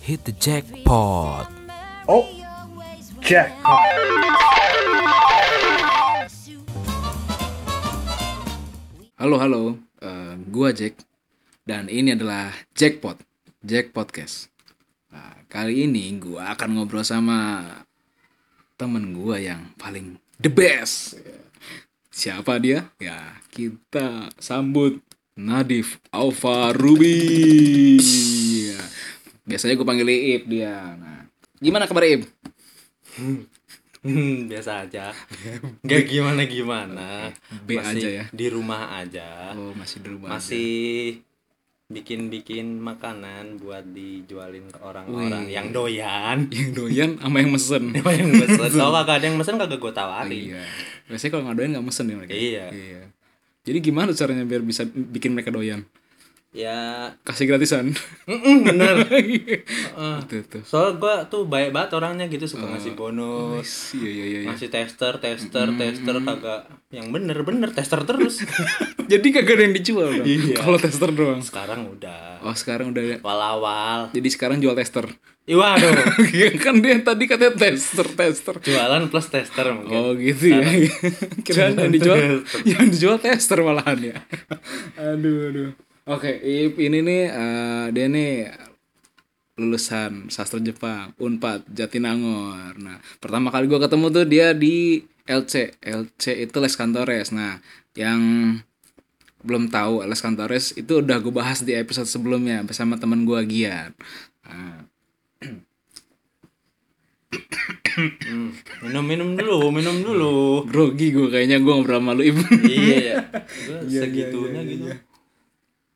hit the jackpot. Oh, jackpot. Halo, halo. Eh, gua Jack dan ini adalah Jackpot, Jack Podcast. Nah, kali ini gua akan ngobrol sama temen gua yang paling the best. Siapa dia? Ya, kita sambut Nadif Alfa Ruby. Ya, Biasanya gue panggil Iip dia. Nah, gimana kabar Iip? Hmm, biasa aja. Gak gimana gimana. B aja ya. Di rumah aja. Oh, masih di rumah. aja. Ah, Masih bikin-bikin makanan buat dijualin ke orang-orang Wih. yang doyan. yang doyan sama yang mesen. yang mesen. Kalau kagak ada yang mesen kagak gue tawarin. Iya. Biasanya kalau nggak doyan nggak mesen ya mereka. Iya. Jadi gimana caranya biar bisa bikin mereka doyan? Ya, Kasih gratisan. Gitu, mm-mm, bener. Heeh. Itu itu. Soalnya gue tuh baik banget orangnya gitu Oh, suka ngasih bonus. Iya iya iya. iya. Ngasih tester, tester, tester kagak yang bener-bener tester terus. Jadi kagak ada yang dijual dong. Iya. Kalau tester doang. Sekarang udah Oh sekarang udah. ada. awal-awal. Jadi sekarang jual tester. Ih, waduh. Iya kan dia tadi katanya tester tester. jualan plus tester mungkin Oh gitu ya. Kira yang dijual yang dijual tester malahan ya. aduh aduh. Oke, Ip, ini nih eh, dia nih lulusan sastra Jepang Unpad Jatinangor. Nah, pertama kali gua ketemu tuh dia di LC. LC itu Les Cantores. Nah, yang belum tahu Les Cantores itu udah gue bahas di episode sebelumnya bersama teman gua Gian. Nah, Hmm, minum minum dulu minum dulu grogi gue kayaknya gue ngobrol sama lu Ip. iya ya Gua segitunya gitu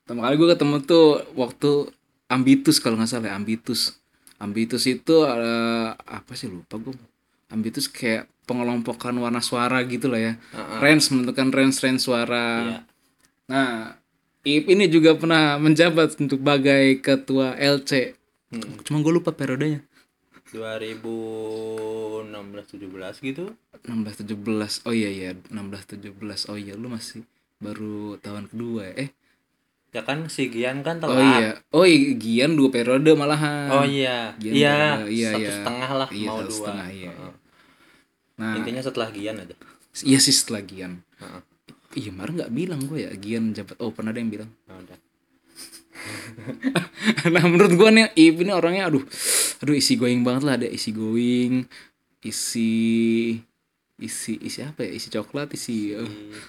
Pertama kali gue ketemu tuh waktu Ambitus kalau nggak salah ya, Ambitus. Ambitus itu eh, apa sih lupa gue. Ambitus kayak pengelompokan warna suara gitu lah ya. Range menentukan range-range suara. Iya. Nah, Ip ini juga pernah menjabat untuk sebagai ketua LC. Hmm. Cuma gue lupa periodenya. 2016 17 gitu 16 17. Oh iya iya, 16 17. Oh iya, lu masih baru tahun kedua ya. Eh, ya kan si Gian kan telat oh iya. Oh iya, Gian dua periode malahan. Oh iya, Gian iya, baru- iya, satu iya. setengah lah Iya, mau satu dua. setengah, iya, Heeh. Nah, Intinya setelah Gian aja. Iya sih setelah Gian. Heeh. Iya Mar nggak bilang gue ya Gian menjabat. Oh pernah ada yang bilang. Nah, udah. nah menurut gue nih Iip ini orangnya aduh, aduh isi going banget lah ada isi going, isi isi isi apa ya isi coklat isi oh,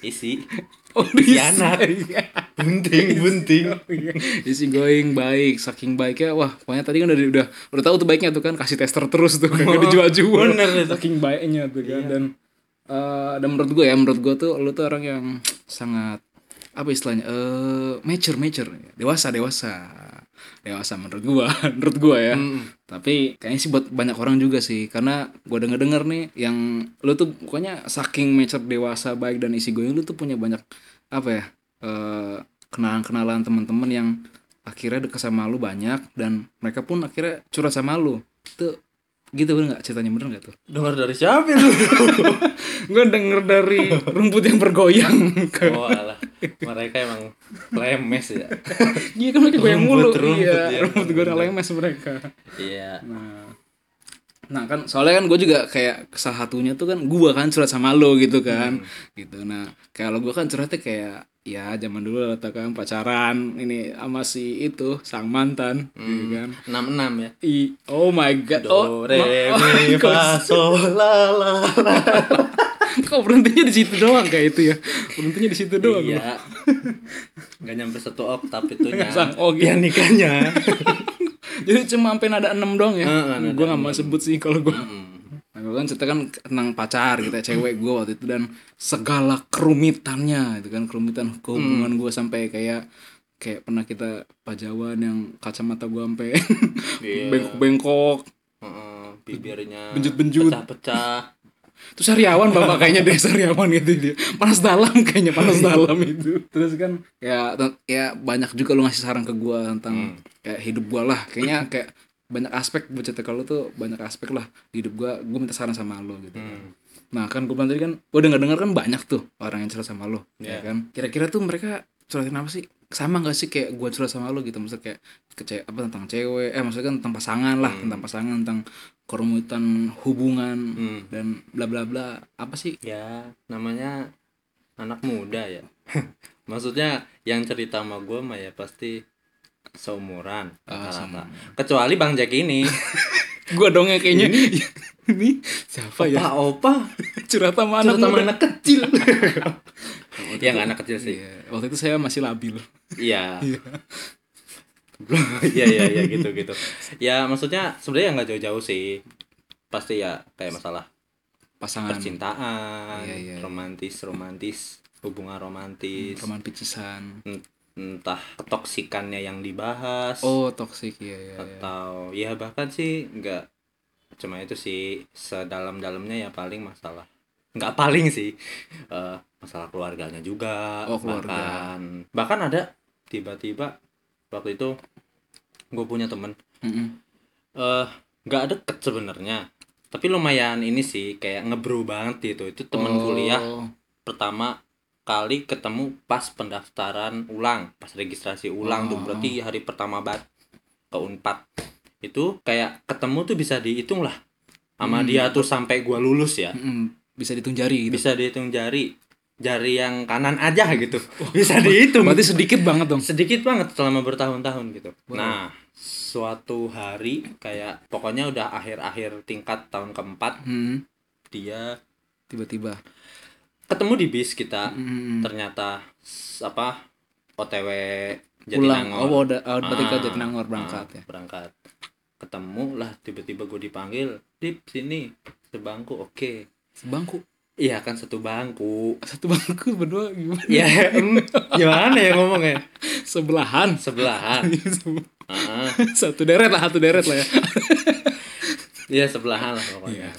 Isi oh isi anak. Iya. bunting bunting. isi going baik saking baiknya wah pokoknya tadi kan udah udah udah tahu tuh baiknya tuh kan kasih tester terus tuh kan dijual jual bener itu. saking baiknya tuh kan dan eh dan menurut gue ya menurut gue tuh lu tuh orang yang sangat apa istilahnya eh mature mature dewasa dewasa dewasa menurut gua menurut gua ya tapi kayaknya sih buat banyak orang juga sih karena gua denger denger nih yang lu tuh pokoknya saking mature dewasa baik dan isi gue lu tuh punya banyak apa ya eh kenalan kenalan teman-teman yang akhirnya dekat sama lu banyak dan mereka pun akhirnya curhat sama lu tuh gitu bener nggak ceritanya bener nggak tuh Dengar dari siapa lu? gue denger dari rumput yang bergoyang ke oh alah, mereka emang lemes ya. Iya kan mereka goyang mulu. Rumput, rumput, iya, ya. rumput gue lemes mereka. Iya. Nah. Nah kan soalnya kan gue juga kayak salah satunya tuh kan gue kan curhat sama lo gitu kan. Hmm. Gitu. Nah, kalau gue kan curhatnya kayak ya zaman dulu lah, tau kan pacaran ini sama si itu sang mantan gitu kan. 66 ya. I, oh my god. Hmm. Do oh, re ma- oh my mi God. fa sol la la la. Kok berhentinya di situ doang kayak itu ya. Berhentinya di situ doang. Iya. Gak nyampe satu oktav itunya. Sang Ogi. Ya, nikahnya. Oh, gitu. Jadi cuma sampai nada 6 doang ya. Heeh, nada gue gak mau sebut sih kalau gue. Nah, gue kan cerita kan tentang pacar gitu ya, cewek gue waktu itu dan segala kerumitannya itu kan kerumitan Mm. hubungan gue sampai kayak kayak pernah kita pajawan yang kacamata gue sampai Iya. bengkok-bengkok bibirnya Benjut-benjut. pecah-pecah. Terus sariawan bapak kayaknya deh sariawan gitu dia. Panas dalam kayaknya panas dalam itu. Iya. Terus kan ya ten- ya banyak juga lu ngasih saran ke gua tentang kayak hidup gua lah. Kayaknya kayak banyak aspek buat cerita ke lu tuh banyak aspek lah di hidup gua. Gua minta saran sama lu gitu. Nah kan gua bilang Iya. tadi kan gua denger dengar kan banyak tuh orang yang cerita sama lu ya kan. Kira-kira tuh mereka curhatin apa sih? sama gak sih kayak gua curhat sama lo gitu maksudnya kayak ke ce- apa tentang cewek eh maksudnya kan tentang pasangan lah tentang pasangan tentang kerumitan hubungan Hmm. dan bla bla bla apa sih ya namanya anak muda ya maksudnya yang cerita sama gue mah ya pasti seumuran Ah, rata-rata. kecuali bang Jack ini gua dong yang kayaknya ini siapa ya pak opa curhat sama anak cerita sama muda. anak kecil ya nggak anak kecil sih Iya, waktu itu saya masih labil iya iya iya iya gitu gitu ya maksudnya sebenarnya nggak jauh-jauh sih pasti ya kayak masalah pasangan percintaan Iya, iya, iya. romantis romantis hubungan romantis roman picisan entah ketoksikannya yang dibahas oh toksik ya ya, ya. atau ya bahkan sih nggak cuma itu sih sedalam-dalamnya ya paling masalah nggak paling sih eh, masalah keluarganya juga Oh, keluarga. bahkan bahkan ada tiba-tiba waktu itu gue punya temen Mm-mm. eh nggak deket sebenarnya tapi lumayan ini sih kayak ngebrew banget gitu itu temen Oh, kuliah pertama kali ketemu pas pendaftaran ulang, pas registrasi ulang tuh Oh. berarti hari pertama bat ke Unpad. Itu kayak ketemu tuh bisa dihitung lah. Hmm. Sama dia tuh sampai gua lulus ya. mm-mm. bisa dihitung jari gitu Bisa dihitung jari jari yang kanan aja gitu. Bisa dihitung. berarti sedikit banget dong Sedikit banget selama bertahun-tahun gitu. Wow. Nah, suatu hari kayak pokoknya udah akhir-akhir tingkat tahun keempat Mm, dia tiba-tiba ketemu di bis kita Mm. ternyata s- apa OTW pulang Jatinangor. oh udah oh, berarti ke Ah, Jatinangor ah, berangkat ya berangkat ketemu lah tiba-tiba gue dipanggil di sini sebangku oke sebangku iya kan satu bangku satu bangku berdua gimana ya em, gimana ya ngomongnya sebelahan sebelahan Ah, satu deret lah satu deret lah ya iya sebelahan lah pokoknya Iya.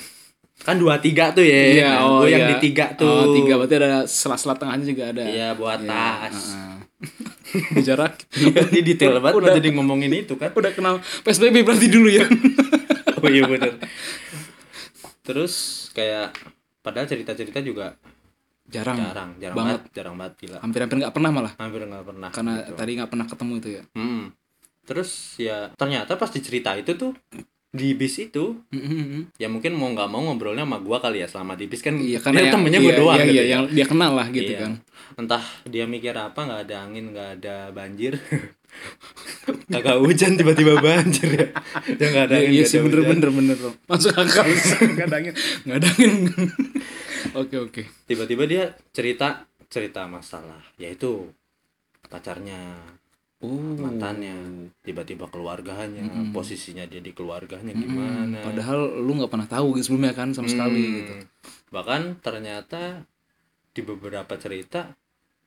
kan dua tiga tuh ya Nah, gua yang iya. di tiga tuh oh, tiga berarti ada sela-sela tengahnya juga ada iya buat Iya, tas ah, ah. jarak Ini detail banget Udah. udah jadi ngomongin itu kan udah kenal PSBB berarti dulu ya oh iya bener terus kayak padahal cerita-cerita juga jarang jarang jarang Hmm. banget. banget, jarang banget gila hampir-hampir nggak pernah malah hampir nggak pernah karena gitu. tadi nggak pernah ketemu itu ya Mm. terus ya ternyata pas dicerita itu tuh di bis itu Mm-mm. ya mungkin mau nggak mau ngobrolnya sama gua kali ya selama di bis kan iya karena karena yang- temennya iya, gua doang iya, iya, gitu ya. yang dia kenal lah gitu Iya. kan entah dia mikir apa nggak ada angin nggak ada banjir kagak hujan tiba-tiba banjir ya dia nggak ada Iya, angin iya nggak sih ada bener hujan. bener bener Rom. Masuk akal Nggak ada angin Nggak ada angin Oke oke tiba-tiba dia cerita cerita masalah yaitu pacarnya Oh mantannya tiba-tiba keluarganya posisinya dia di keluarganya hmm, gimana Padahal lu nggak pernah tahu gitu sebelumnya kan sama sekali Hmm. gitu bahkan ternyata di beberapa cerita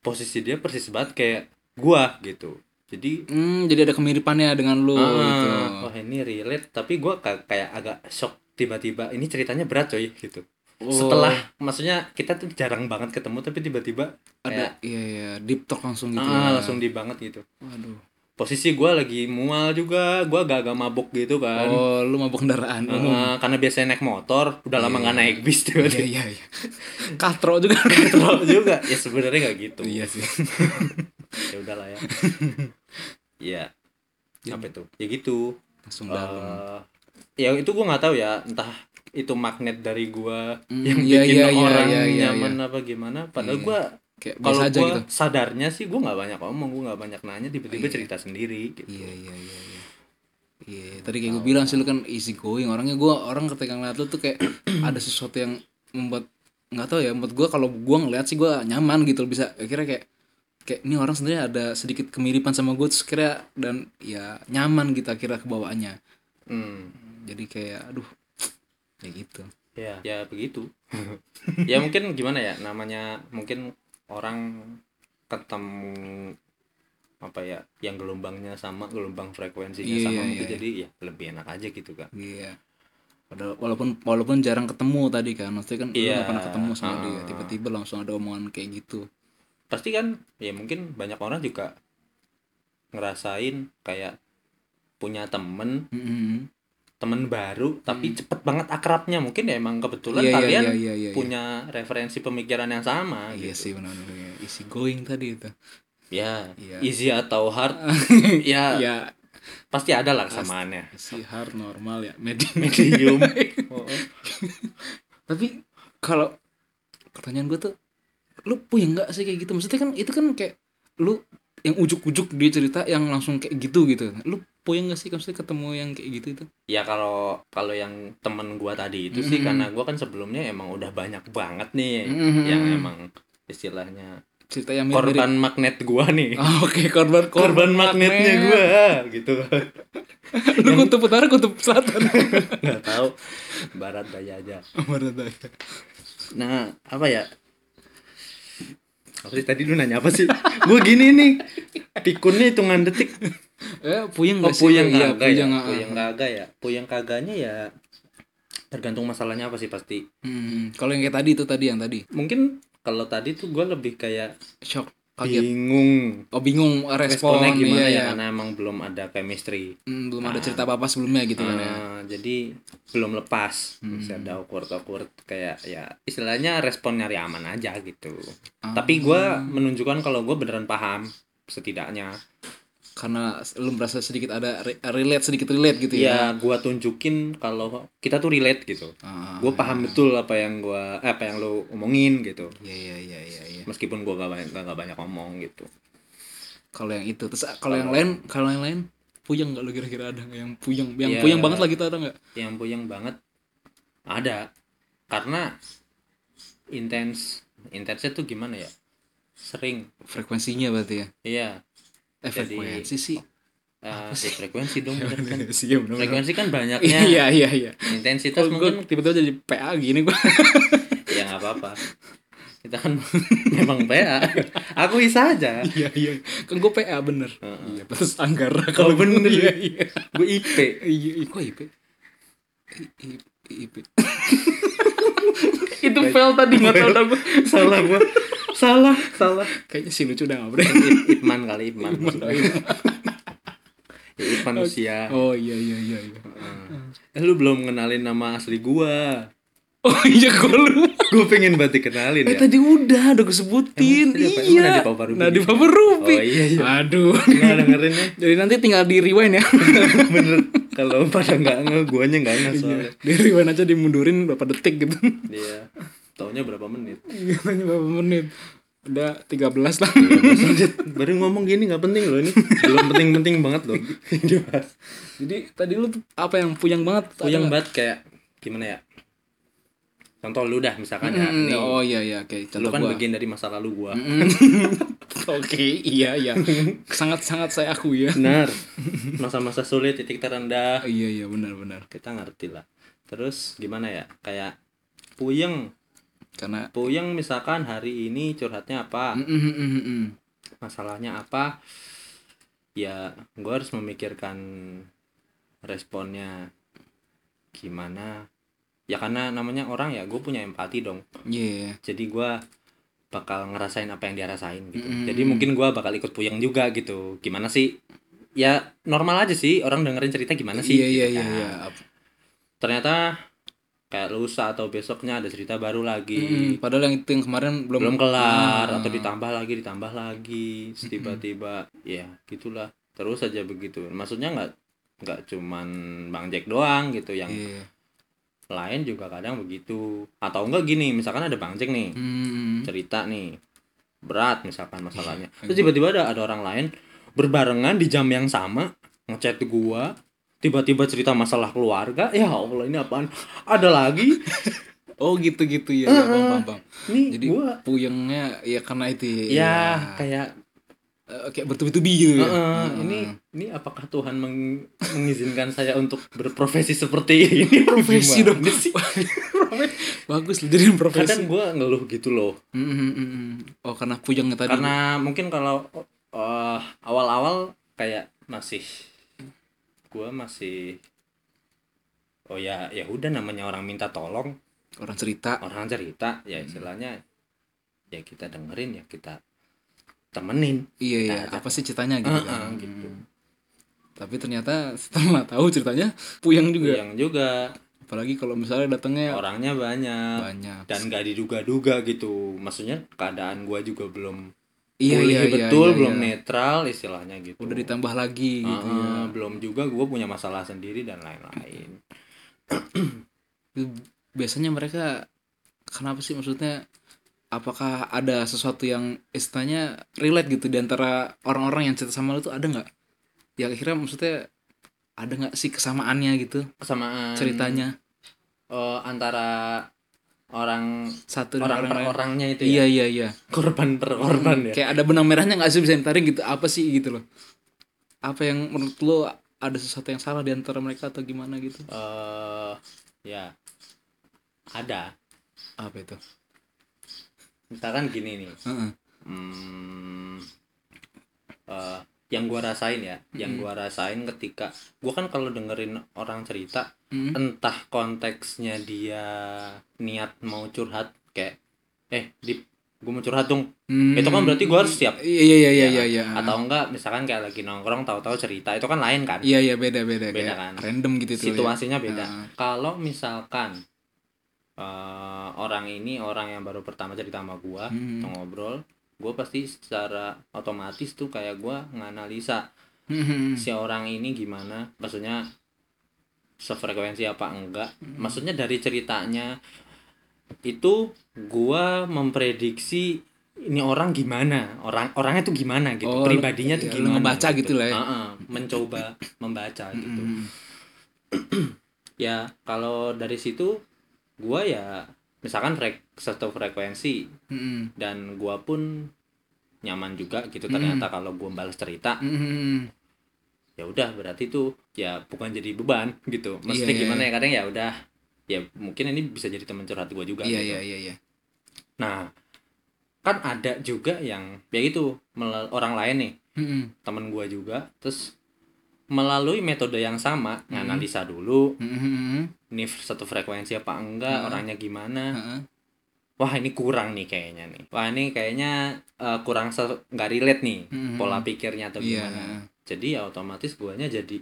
posisi dia persis banget kayak gua gitu jadi hmm, Jadi ada kemiripannya dengan lu ah, gitu wah ini relate tapi gua ka- kayak agak shock tiba-tiba ini ceritanya berat coy gitu Oh. setelah maksudnya kita tuh jarang banget ketemu tapi tiba-tiba Ada kayak iya iya Deep talk langsung gitu ya. ah, langsung di banget gitu Waduh posisi gua lagi mual juga gua agak-agak mabuk gitu kan Oh lu mabuk kendaraan Ah, umum karena biasanya naik motor udah lama nggak naik Iya bis tiba-tiba iya iya Katro juga Terlalu juga ya sebenarnya nggak gitu Iya sih ya udahlah ya ya Iya. apa itu ya gitu Langsung dalam Eh, ya itu gua nggak tahu ya entah itu magnet dari gua Hmm, yang iya, bikin iya, iya, orang iya, iya, nyaman apa gimana padahal Iya. gua Kayak kalau biasa aja gua gitu sadarnya sih gua nggak banyak ngomong gua nggak banyak nanya Iya. tiba-tiba cerita sendiri gitu Iya iya iya iya. Iya, tadi kayak gue bilang sih lu kan easy going. Orangnya gue orang ketika ngeliat lu tuh kayak ada sesuatu yang membuat nggak tahu ya, membuat gue kalau gue ngeliat sih gue nyaman gitu bisa kira kayak kayak ini orang sebenarnya ada sedikit kemiripan sama gue terus kira dan ya nyaman gitu kira kebawaannya. Hmm, Jadi kayak aduh ya gitu. ya ya begitu ya mungkin gimana ya namanya mungkin orang ketemu apa ya yang gelombangnya sama gelombang frekuensinya Iya, sama iya, gitu iya, jadi ya lebih enak aja gitu kan Iya. Padahal walaupun walaupun jarang ketemu tadi kan, maksudnya kan lu Iya. nggak pernah ketemu sama Ah. dia, tiba-tiba langsung ada omongan kayak gitu. pasti kan ya mungkin banyak orang juga ngerasain kayak punya temen Mm-mm. temen baru tapi cepet banget akrabnya mungkin ya emang kebetulan Hmm. Iya, iya, kalian iya, iya, iya, iya. punya referensi pemikiran yang sama Iya gitu sih benar-benar ya. easy going tadi itu. ya Iya. easy atau hard ya ya pasti ada lah kesamaannya si hard normal ya medium medium Oh, oh. tapi kalau pertanyaan gue tuh lu puyeng nggak sih kayak gitu maksudnya kan itu kan kayak lu yang ujuk-ujuk dia cerita yang langsung kayak gitu gitu lu puyeng nggak sih maksudnya ketemu yang kayak gitu itu ya kalau kalau yang temen gua tadi itu Mhm. sih karena gua kan sebelumnya emang udah banyak banget nih Mhm. yang emang istilahnya cerita yang mirip-mirip. korban magnet gua nih Ah, oke korban Oh, korban magnetnya gua gitu lu kutub utara kutub selatan nggak tahu barat daya aja Barat daya. nah apa ya apa sih tadi lu nanya apa sih gua gini nih pikunnya hitungan detik eh puyeng oh nggak sih puyeng Iya, kagak ya puyeng, ah. puyeng kagak ya puyeng kagaknya ya tergantung masalahnya apa sih pasti Hmm, kalau yang kayak tadi itu tadi yang tadi mungkin kalau tadi tuh gua lebih kayak shock kaget bingung oh bingung respon Iya. responnya gimana iya, ya iya. karena emang belum ada chemistry Hmm, belum ada cerita apa apa sebelumnya gitu kan ya Ah, jadi belum lepas masih ada awkward awkward kayak ya istilahnya respon nyari aman aja gitu Ah. tapi gua menunjukkan kalau gua beneran paham setidaknya karena lu merasa sedikit ada re- relate sedikit relate gitu ya ya gua tunjukin kalau kita tuh relate gitu Ah, Gua paham betul apa yang gua eh, apa yang lo omongin gitu iya iya iya iya iya meskipun gua gak banyak gak banyak ngomong gitu kalau yang itu terus ah, kalau yang lain kalau yang lain puyeng nggak lu kira-kira ada nggak yang puyeng yang Iya. puyeng banget lah gitu ada nggak yang puyeng banget ada karena intens intensnya tuh gimana ya sering frekuensinya berarti ya iya eh, Jadi- frekuensi sih eh di frekuensi dong bener kan Iya, bener-bener. frekuensi kan banyaknya iya iya iya intensitas terus mungkin mungkin tiba-tiba jadi PA gini gua ya nggak apa-apa kita kan memang PA aku isa aja iya iya kan gue PA bener Heeh. iya terus Anggara kalau bener. bener iya iya gue IP iya iya. kok IP I- I- IP itu fail tadi nggak tahu dah gua. salah gue salah salah kayaknya si lucu udah ngabre Ip- Ipman kali Ipman ya, Ipman usia oh iya iya iya iya eh, lu belum kenalin nama asli gua oh iya gue lupa gue pengen banget dikenalin Eh ya tadi udah, udah gue sebutin. Emang tadi apa? iya. Emang Nadi Papa Rupi? Nadi Papa Rupi. Oh, iya, iya. Aduh. nggak dengerin ya Jadi nanti tinggal di rewind ya. bener Iya. kalau pada nggak nge guanya nggak nge soalnya Iya. di rewind aja dimundurin berapa detik gitu. dia Iya. taunya berapa menit Iya, tanya berapa menit. Udah 13 lah. baru ngomong gini nggak penting loh ini belum penting-penting banget loh Jadi tadi lu tuh apa yang puyang banget? Ada nggak? puyeng banget kayak gimana ya contoh lu dah misalkan ya Hmm, nih oh iya iya oke lu contoh kan gua. bagian dari masa lalu gua Oke, iya iya. Sangat-sangat saya akui ya. benar masa-masa sulit titik terendah Iya iya benar benar. kita ngerti lah terus gimana ya kayak puyeng Karena puyeng misalkan hari ini curhatnya apa Mm, mm, mm, mm, mm. masalahnya apa ya gue harus memikirkan responnya gimana ya karena namanya orang ya gue punya empati dong Iya. iya. jadi gue bakal ngerasain apa yang dia rasain gitu Mm. jadi mungkin gue bakal ikut puyeng juga gitu gimana sih ya normal aja sih orang dengerin cerita gimana sih Iya iya gitu iya kan. iya. ternyata kayak lusa atau besoknya ada cerita baru lagi Mm, padahal yang itu yang kemarin belum belum kelar Ah. atau ditambah lagi ditambah lagi Terus tiba-tiba ya gitulah terus aja begitu maksudnya nggak nggak cuman bang Jack doang gitu yang Iya. lain juga kadang begitu atau enggak gini misalkan ada bang Jack nih Hmm. cerita nih berat misalkan masalahnya Iya, terus tiba-tiba ada ada orang lain berbarengan di jam yang sama ngechat gua tiba-tiba cerita masalah keluarga ya allah ini apaan ada lagi Oh gitu-gitu ya, ya bang, bang, bang. nih Jadi gua puyengnya ya karena itu ya. ya kayak Eh, kayak bertubi-tubi gitu ya. Heeh, Heeh. ini ini apakah Tuhan meng- mengizinkan saya untuk berprofesi seperti ini? Profesi Gimana dong. sih? bagus lu jadi Kadang profesi. gue ngeluh gitu loh, Mm, mm, mm, mm. Oh karena puyengnya tadi. karena mungkin kalau eh, awal-awal kayak masih gue masih oh ya ya udah namanya orang minta tolong orang cerita. orang cerita Hmm. ya istilahnya ya kita dengerin ya kita temenin Iya iya. Nah, Apa sih ceritanya gitu? Heeh, kan. gitu. Mm. Tapi ternyata setelah tahu ceritanya puyeng juga. yang juga Apalagi kalau misalnya datangnya orangnya banyak banyak. dan gak diduga-duga gitu maksudnya keadaan gua juga belum Iya, pulih iya, iya, betul iya, belum iya. netral istilahnya gitu udah ditambah lagi gitu ya. Ah, belum juga gue punya masalah sendiri dan lain-lain biasanya mereka kenapa sih maksudnya apakah ada sesuatu yang istilahnya relate gitu di antara orang-orang yang cerita sama lu tuh ada nggak ya akhirnya maksudnya ada nggak sih kesamaannya gitu kesamaan ceritanya eh, antara orang satu orang dengan per orang lain orangnya itu ya iya iya iya korban per korban ya kayak ada benang merahnya nggak sih bisa ditarik gitu apa sih gitu loh apa yang menurut lo ada sesuatu yang salah di antara mereka atau gimana gitu eh ya ada apa itu misalkan gini nih Heeh. hmm, eh, yang gua rasain ya yang gua rasain ketika gua kan kalau dengerin orang cerita Mm. entah konteksnya dia niat mau curhat kayak eh di gua mau curhat dong Hmm. itu kan berarti gua harus siap Ya. iya iya iya iya iya atau enggak misalkan kayak lagi nongkrong tahu-tahu cerita itu kan lain kan iya iya beda beda, kayak Beda kan? random gitu tuh ya. situasinya beda. Ah. Kalau misalkan eh, orang ini orang yang baru pertama cerita sama gua, Hmm. atau ngobrol, gua pasti secara otomatis tuh kayak gua nganalisa Hmm. si orang ini gimana, maksudnya sefrekuensi apa enggak. Hmm. Maksudnya dari ceritanya itu gua memprediksi ini orang gimana, orang orangnya tuh gimana gitu, Oh, lu- pribadinya tuh ya, lu gimana. ngebaca gitu lah ya. Ah, ah, mencoba membaca gitu Hmm. ya kalau dari situ gua ya misalkan frek satu frekuensi Hmm. dan gua pun nyaman juga gitu Hmm. ternyata kalau gua balas cerita Hmm. ya udah berarti tuh ya bukan jadi beban gitu maksudnya Iya, iya, gimana ya kadang ya udah ya mungkin ini bisa jadi teman curhat gua juga iya gitu. iya iya iya nah kan ada juga yang ya gitu mel- orang lain nih Hmm. temen gua juga terus melalui metode yang sama nganalisa dulu Hmm. Hmm. nih satu frekuensi apa enggak Ah. orangnya gimana Heeh. hmm, wah ini kurang nih kayaknya nih wah ini kayaknya eh, kurang se- nggak relate nih Mhm. pola pikirnya atau Iya. gimana jadi ya otomatis guanya jadi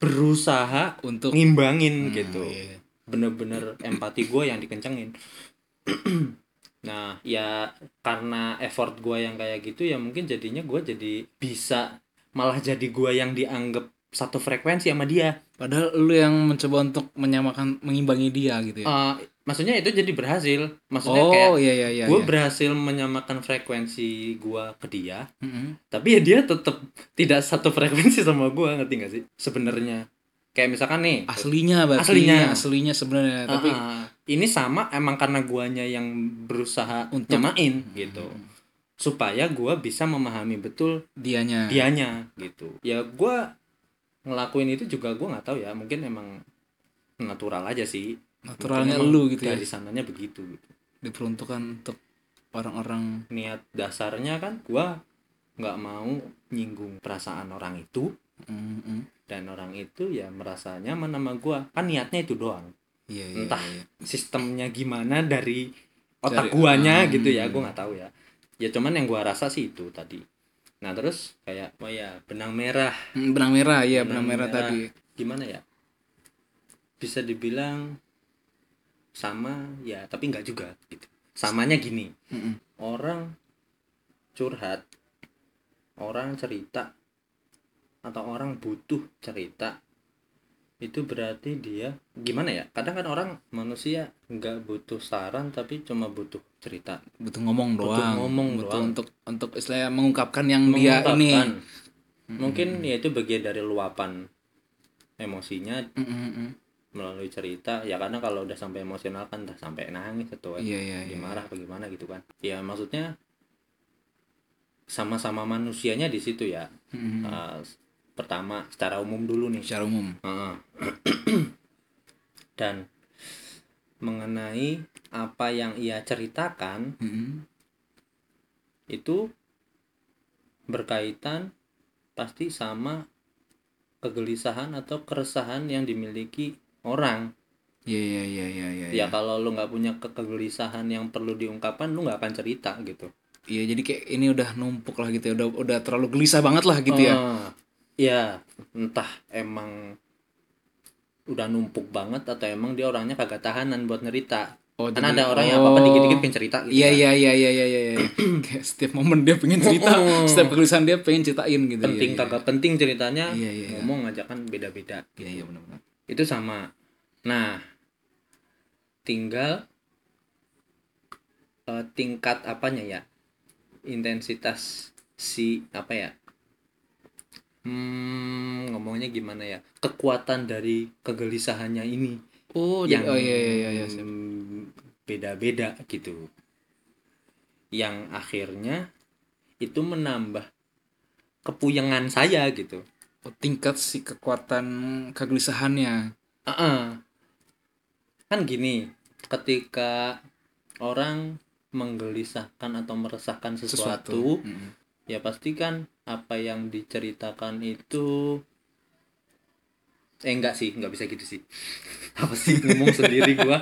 berusaha untuk ngimbangin Nah, gitu iya. bener-bener empati gue yang dikencengin nah ya karena effort gue yang kayak gitu ya mungkin jadinya gue jadi bisa malah jadi gue yang dianggap satu frekuensi sama dia padahal lu yang mencoba untuk menyamakan mengimbangi dia gitu ya Eh, maksudnya itu jadi berhasil maksudnya kayak oh iya iya iya gue iya. berhasil menyamakan frekuensi gue ke dia Hmm. tapi ya dia tetap tidak satu frekuensi sama gue ngerti gak sih sebenarnya kayak misalkan nih aslinya berarti Aslinya. aslinya sebenarnya ah, tapi ah, ini sama emang karena guanya yang berusaha Untuk- Hmm. nyamain gitu supaya gue bisa memahami betul dianya dianya gitu ya gue ngelakuin itu juga gue nggak tahu ya mungkin emang natural aja sih naturalnya Mungkin emang lu gitu ya dari sananya begitu gitu. diperuntukkan untuk orang-orang niat dasarnya kan gua nggak mau nyinggung perasaan orang itu Mm, mm. dan orang itu ya merasa nyaman sama gua kan niatnya itu doang iya iya entah iya. sistemnya gimana dari otak Dari- guanya Hmm. gitu ya gua nggak tahu ya ya cuman yang gua rasa sih itu tadi nah terus kayak oh ya benang merah Mm, benang merah ya benang, Benang merah, merah. tadi gimana ya bisa dibilang sama ya tapi nggak juga gitu samanya gini Mm-mm. orang curhat orang cerita atau orang butuh cerita itu berarti dia gimana ya kadang kan orang manusia nggak butuh saran tapi cuma butuh cerita butuh ngomong Butuh doang ngomong butuh doang. untuk untuk istilahnya mengungkapkan yang dia Iya, ini Mengungkapkan. mungkin ya itu bagian dari luapan emosinya Mm, mm, mm. melalui cerita ya karena kalau udah sampai emosional kan udah sampai nangis atau iya iya iya dimarah apa gimana gitu kan ya maksudnya sama-sama manusianya di situ ya Mm, mm. Uh, pertama secara umum dulu nih secara umum Heeh. dan mengenai apa yang ia ceritakan Mm, mm. itu berkaitan pasti sama kegelisahan atau keresahan yang dimiliki orang iya iya iya iya iya ya kalau lu nggak punya ke- kegelisahan yang perlu diungkapkan lu nggak akan cerita gitu Iya, jadi kayak ini udah numpuk lah gitu ya udah udah terlalu gelisah banget lah gitu ya Ah, ya entah emang udah numpuk banget atau emang dia orangnya kagak tahanan buat nerita Oh, Karena jadi- ada orang yang apa-apa oh. dikit-dikit pengen cerita gitu Iya kan. iya iya iya iya iya. iya. Kayak setiap momen dia pengen cerita, setiap kegelisahan dia pengen ceritain gitu. Iya, Oh. penting iya. kagak penting ceritanya Iya, iya, iya. ngomong aja kan beda-beda Iya iya benar-benar. itu sama nah tinggal eh, tingkat apanya ya intensitas si apa ya hmm, ngomongnya gimana ya kekuatan dari kegelisahannya ini Oh, yang yang oh iya iya iya, iya. siap. beda-beda gitu yang akhirnya itu menambah kepuyengan saya gitu Oh, tingkat si kekuatan kegelisahannya. Ah, Kan gini, ketika orang menggelisahkan atau meresahkan sesuatu, Mm-mm. ya pastikan apa yang diceritakan itu eh enggak sih, enggak bisa gitu sih. Apa sih ngomong sendiri gua?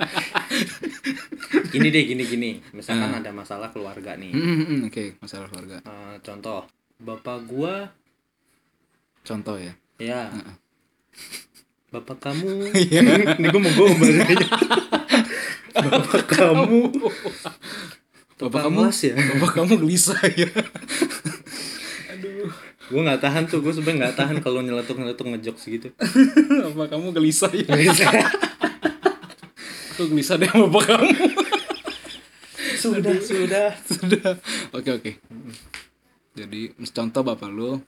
gini deh, gini gini. Misalkan Hmm. ada masalah keluarga nih. Mm-mm, mm-mm. Mm-hmm, Oke, masalah keluarga. Eh, contoh, bapak gua Contoh ya. ya. Heeh. Bapak kamu, Iya. ini gua mau gombal. Bapak kamu Bapak Tukang kamu, las ya? bapak kamu gelisah ya. gue nggak tahan tuh gue sebenarnya nggak tahan kalau gitu. nyeletuk nyeletuk ngejok segitu bapak kamu gelisah ya. Aku gelisah deh sama bapak kamu. sudah sudah Sudah. Oke, oke. Jadi, contoh bapak lu.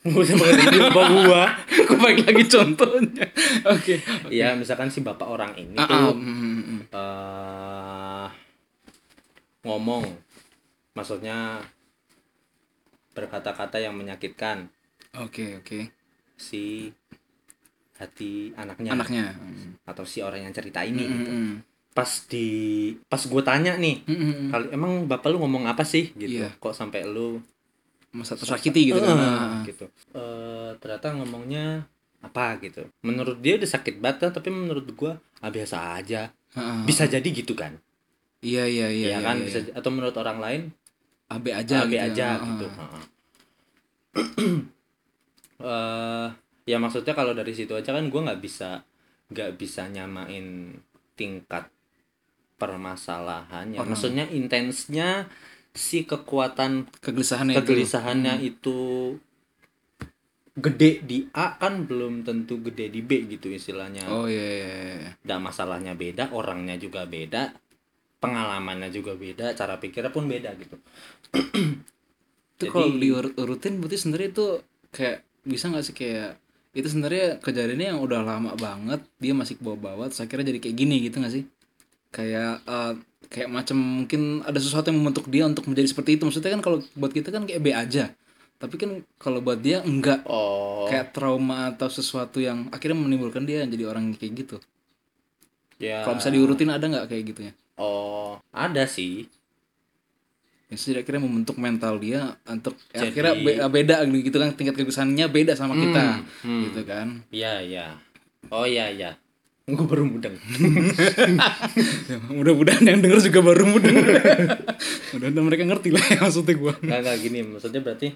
gue sama kayak gini, bapak gua Aku balik lagi contohnya. Oke. ya misalkan si bapak orang ini Ah, ah, tuh mm, mm, mm. eh, ngomong maksudnya berkata-kata yang menyakitkan Oke, oke. si hati anaknya, Anaknya. Mm, atau si orang yang cerita ini mm, gitu. mm. pas di pas gue tanya nih Mm, mm, mm. kali emang bapak lu ngomong apa sih gitu Iya. kok sampai lu Masa tersakiti gitu kan. Ah, Eh, ah. gitu Eh, ternyata ngomongnya apa gitu menurut dia udah sakit banget kan, tapi menurut gua ah, biasa aja Ah, ah. bisa jadi gitu kan Iya, iya, iya. ya iya, kan iya. bisa j- atau menurut orang lain AB aja aja gitu. aja Ah, ah. gitu Heeh. Eh, ya maksudnya kalau dari situ aja kan gua nggak bisa nggak bisa nyamain tingkat permasalahannya Orang. maksudnya intensnya si kekuatan Kegelisahannya itu. Hmm. kegelisahannya itu gede di A kan belum tentu gede di B gitu istilahnya. Oh, iya, iya, iya. Dan masalahnya beda, orangnya juga beda, pengalamannya juga beda, cara pikirnya pun beda gitu. Itu Jadi- kalau diurutin berarti sebenarnya itu kayak bisa nggak sih kayak itu sebenarnya kejadiannya yang udah lama banget dia masih bawa-bawa terus akhirnya jadi kayak gini gitu nggak sih kayak eh, kayak macam mungkin ada sesuatu yang membentuk dia untuk menjadi seperti itu maksudnya kan kalau buat kita kan kayak B aja tapi kan kalau buat dia enggak Oh, kayak trauma atau sesuatu yang akhirnya menimbulkan dia jadi orang kayak gitu ya. kalau bisa diurutin ada nggak kayak gitunya Oh, ada sih. ya sudah akhirnya membentuk mental dia untuk ya, Jadi- akhirnya be- beda gitu kan tingkat kegelisahannya beda sama kita hmm. gitu kan Iya, iya. Oh, iya, iya. Gue baru mudeng. Ya, mudah-mudahan yang denger juga baru mudah mudah-mudahan mereka ngerti lah ya maksudnya gue Nggak, nggak, gini, maksudnya berarti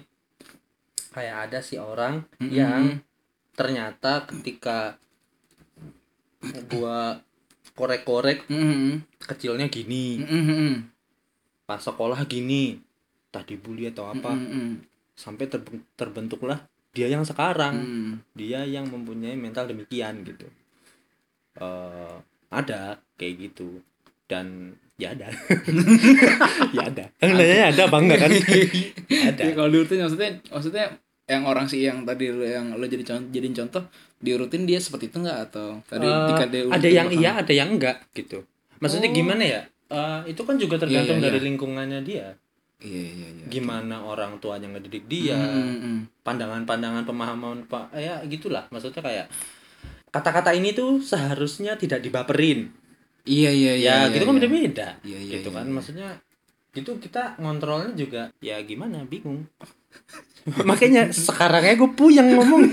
kayak ada si orang yang ternyata ketika gua korek-korek kecilnya gini, pas sekolah gini, tadi bully atau apa, Hmm, sampai terben- terbentuklah dia yang sekarang, dia yang mempunyai mental demikian gitu. eh ada kayak gitu dan ya ada ya ada kan nanya ada apa enggak kan Ya ada Ya, kalau diurutin maksudnya maksudnya yang orang sih yang tadi lo- yang lo jadi contoh jadiin contoh diurutin dia seperti itu nggak atau tadi Eh, ketika dia ada urutin yang bakal- iya ada yang enggak gitu maksudnya gimana ya Eh, itu kan juga Iya, tergantung iya, dari lingkungannya dia iya iya iya gimana orang tuanya ngedidik dia Mm, mm. pandangan-pandangan pemahaman pak ya gitulah maksudnya kayak kata-kata ini tuh seharusnya tidak dibaperin iya iya iya ya iya, gitu iya. kan beda-beda Iya, iya, gitu iya, kan iya. maksudnya itu kita ngontrolnya juga ya gimana bingung makanya sekarangnya gue puyeng ngomong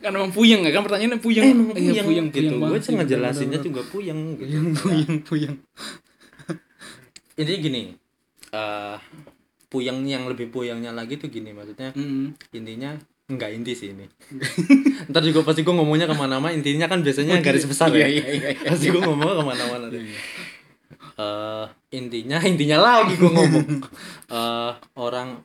kan emang puyeng ya kan pertanyaannya puyeng eh emang Iya, puyeng, gitu gue sih ngejelasinnya juga puyeng gitu. puyeng puyeng puyeng intinya gini eh puyeng yang lebih puyengnya lagi tuh gini maksudnya Mm. intinya nggak inti sih ini ntar juga pasti gue ngomongnya kemana-mana intinya kan biasanya garis besar Iya, ya iya, iya, iya. pasti gue ngomongnya kemana-mana deh. Eh, intinya intinya lagi gue ngomong Eh, orang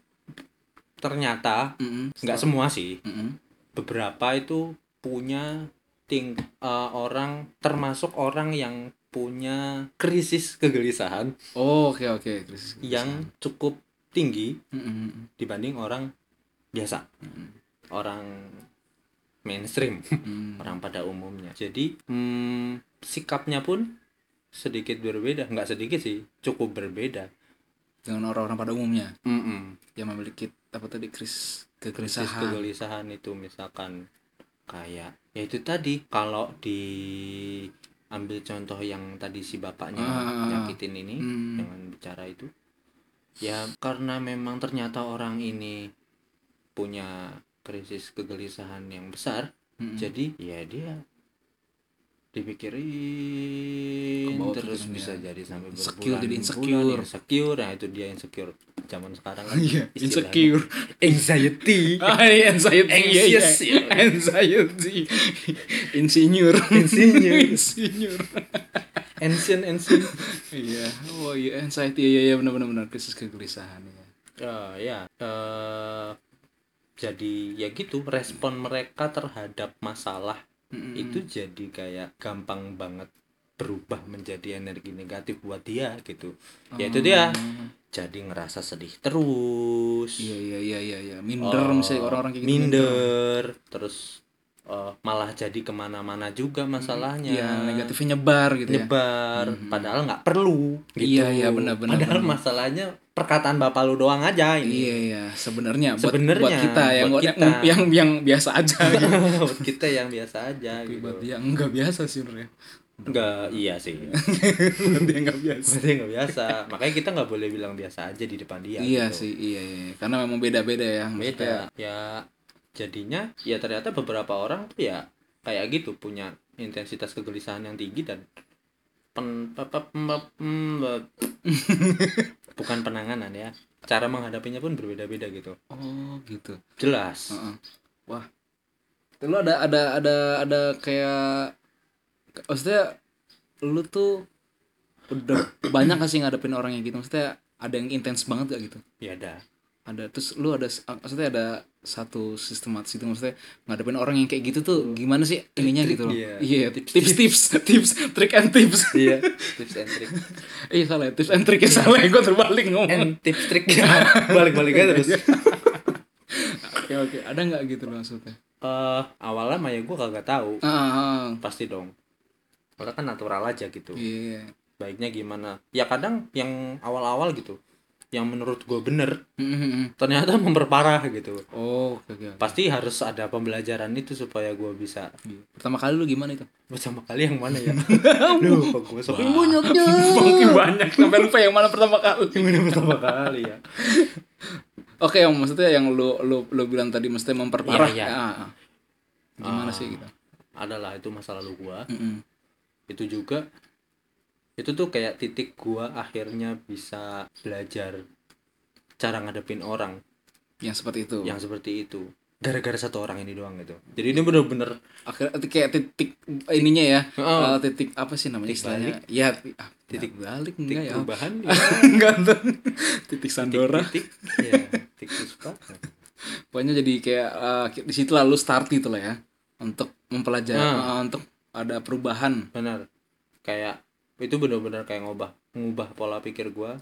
ternyata Mm-mm. nggak semua sih Mm-mm. beberapa itu punya ting eh, orang termasuk orang yang punya krisis kegelisahan Oh, oke oke krisis kegelisahan. yang cukup tinggi Mm-mm. dibanding orang biasa orang mainstream Mm. orang pada umumnya jadi hmm, sikapnya pun sedikit berbeda nggak sedikit sih cukup berbeda dengan orang-orang pada umumnya Mm-mm. yang memiliki apa tadi krisis krisis kegelisahan. kegelisahan itu misalkan kayak ya itu tadi kalau di ambil contoh yang tadi si bapaknya Ah. nyakitin ini Hmm. dengan bicara itu ya karena memang ternyata orang ini punya krisis kegelisahan yang besar Mm-mm. jadi ya dia dipikirin Kebawa terus pikirannya. bisa jadi sampai Insecure, jadi berbulan-bulan insecure. insecure nah itu dia insecure zaman sekarang kan Iya, istilahnya. insecure. anxiety Ah, iya, anxiety. iya, iya. Anxious, iya. Anxiety. Insinyur. Insinyur. Insinyur. ancient ancient Iya. Oh, iya anxiety. Iya, iya benar benar benar krisis kegelisahan ya. Eh, ya eh, jadi ya gitu respon mereka terhadap masalah Mm-mm. itu jadi kayak gampang banget berubah menjadi energi negatif buat dia gitu ya itu dia Hmm. jadi ngerasa sedih terus Iya, iya, iya, iya, iya. Minder Eh, misalnya orang-orang kayak gitu. minder terus eh, malah jadi kemana-mana juga masalahnya Iya, negatifnya nyebar gitu ya. nyebar padahal nggak perlu gitu. Iya, iya, benar, benar, padahal benar. masalahnya perkataan bapak lu doang aja ini Iya iya sebenarnya buat, Sebenarnya, buat kita yang buat yang- kita. yang yang biasa aja gitu. Buat kita yang biasa aja Tapi gitu buat dia nggak biasa sih sebenarnya. nggak iya sih buat dia nggak biasa. berarti nggak biasa makanya kita nggak boleh bilang biasa aja di depan dia Iya gitu. sih iya, iya karena memang beda-beda ya. maksudnya. beda ya jadinya ya ternyata beberapa orang tuh ya kayak gitu punya intensitas kegelisahan yang tinggi dan pen, pe- pe- pe- pe- bukan penanganan ya cara menghadapinya pun berbeda-beda gitu Oh gitu. jelas Heeh. Wah. Lu ada ada ada ada kayak maksudnya lu tuh udah banyak gak sih ngadepin orang yang gitu maksudnya ada yang intens banget gak gitu? ya ada ada terus lu ada maksudnya ada satu sistematis itu maksudnya ngadepin orang yang kayak gitu tuh gimana sih ininya gitu loh iya. iya tips tips tips trick and tips iya tips and trick iya salah ya, tips and trick ya salah ya, gua terbalik ngomong and tips trick Iya. balik-balik aja terus oke oke ada nggak gitu loh maksudnya Eh, awalnya mah ya gue kagak tahu ah, ah, ah. pasti dong Orang kan natural aja gitu iya baiknya gimana ya kadang yang awal-awal gitu yang menurut gue bener Mm, mm, mm. ternyata memperparah gitu oh oke oke oke. pasti harus ada pembelajaran itu supaya gue bisa pertama kali lu gimana itu bersama kali yang mana ya Duh, kok gue sok banyaknya Makin banyak sampai lupa yang mana pertama kali gimana pertama kali ya oke yang maksudnya yang lu lu lu bilang tadi mesti memperparah Iya, iya. Ah, ah. gimana Ah. sih gitu adalah itu masa lalu gue Mm, mm. itu juga itu tuh kayak titik gue akhirnya bisa belajar cara ngadepin orang yang seperti itu yang seperti itu gara-gara satu orang ini doang gitu jadi ini bener-bener akhirnya itu eh, kayak titik ininya ya Oh. eh, titik apa sih namanya Titik istilahnya ya ti- ah, Titik- titik balik titik enggak ya perubahan ya. enggak tuh titik sandora titik ya titik puspa pokoknya jadi kayak eh, di situ lalu start gitu lah ya untuk mempelajari eh, Ah. untuk ada perubahan benar kayak itu benar-benar kayak ngubah ngubah pola pikir gua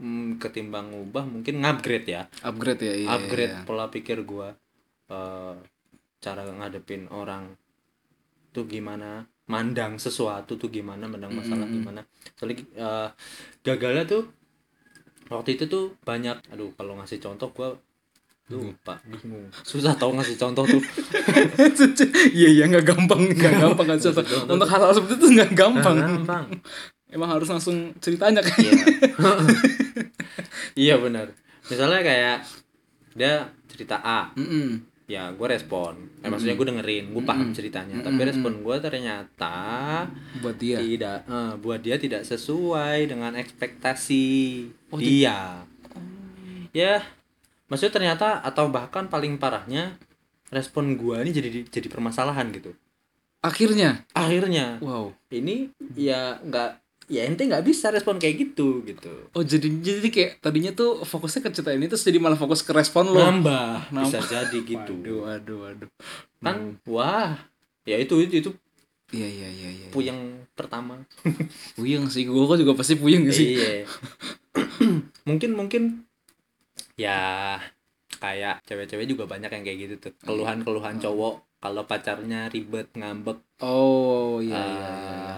Hmm, ketimbang ngubah mungkin ngupgrade ya upgrade ya iya, upgrade iya. pola pikir gua Eh, cara ngadepin orang tuh gimana mandang sesuatu tuh gimana mandang masalah gimana soalnya eh, gagalnya tuh waktu itu tuh banyak aduh kalau ngasih contoh gua lupa bingung susah tau ngasih contoh tuh iya iya nggak gampang nggak gampang kan contoh untuk hal-hal seperti itu nggak gampang gampang emang harus langsung ceritanya kan Iya. Iya benar. Misalnya kayak dia cerita A, Mm-mm. ya gue respon. Eh, maksudnya gue dengerin, gue paham ceritanya. Tapi respon gue ternyata buat dia tidak, eh, buat dia tidak sesuai dengan ekspektasi Oh, Iya. dia. Ya, maksudnya ternyata atau bahkan paling parahnya respon gua ini jadi jadi permasalahan gitu akhirnya akhirnya wow ini ya nggak ya ente nggak bisa respon kayak gitu gitu oh jadi jadi kayak tadinya tuh fokusnya ke cerita ini terus jadi malah fokus ke respon lo Oh. nambah Nambah. bisa jadi gitu waduh waduh waduh kan Hmm. wah ya itu itu, itu iya iya iya iya puyeng pertama puyeng sih gue kok juga pasti puyeng sih iya mungkin mungkin ya kayak cewek-cewek juga banyak yang kayak gitu Iya. tuh Ah. keluhan-keluhan cowok kalau pacarnya ribet ngambek oh iya eh, iya iya iya.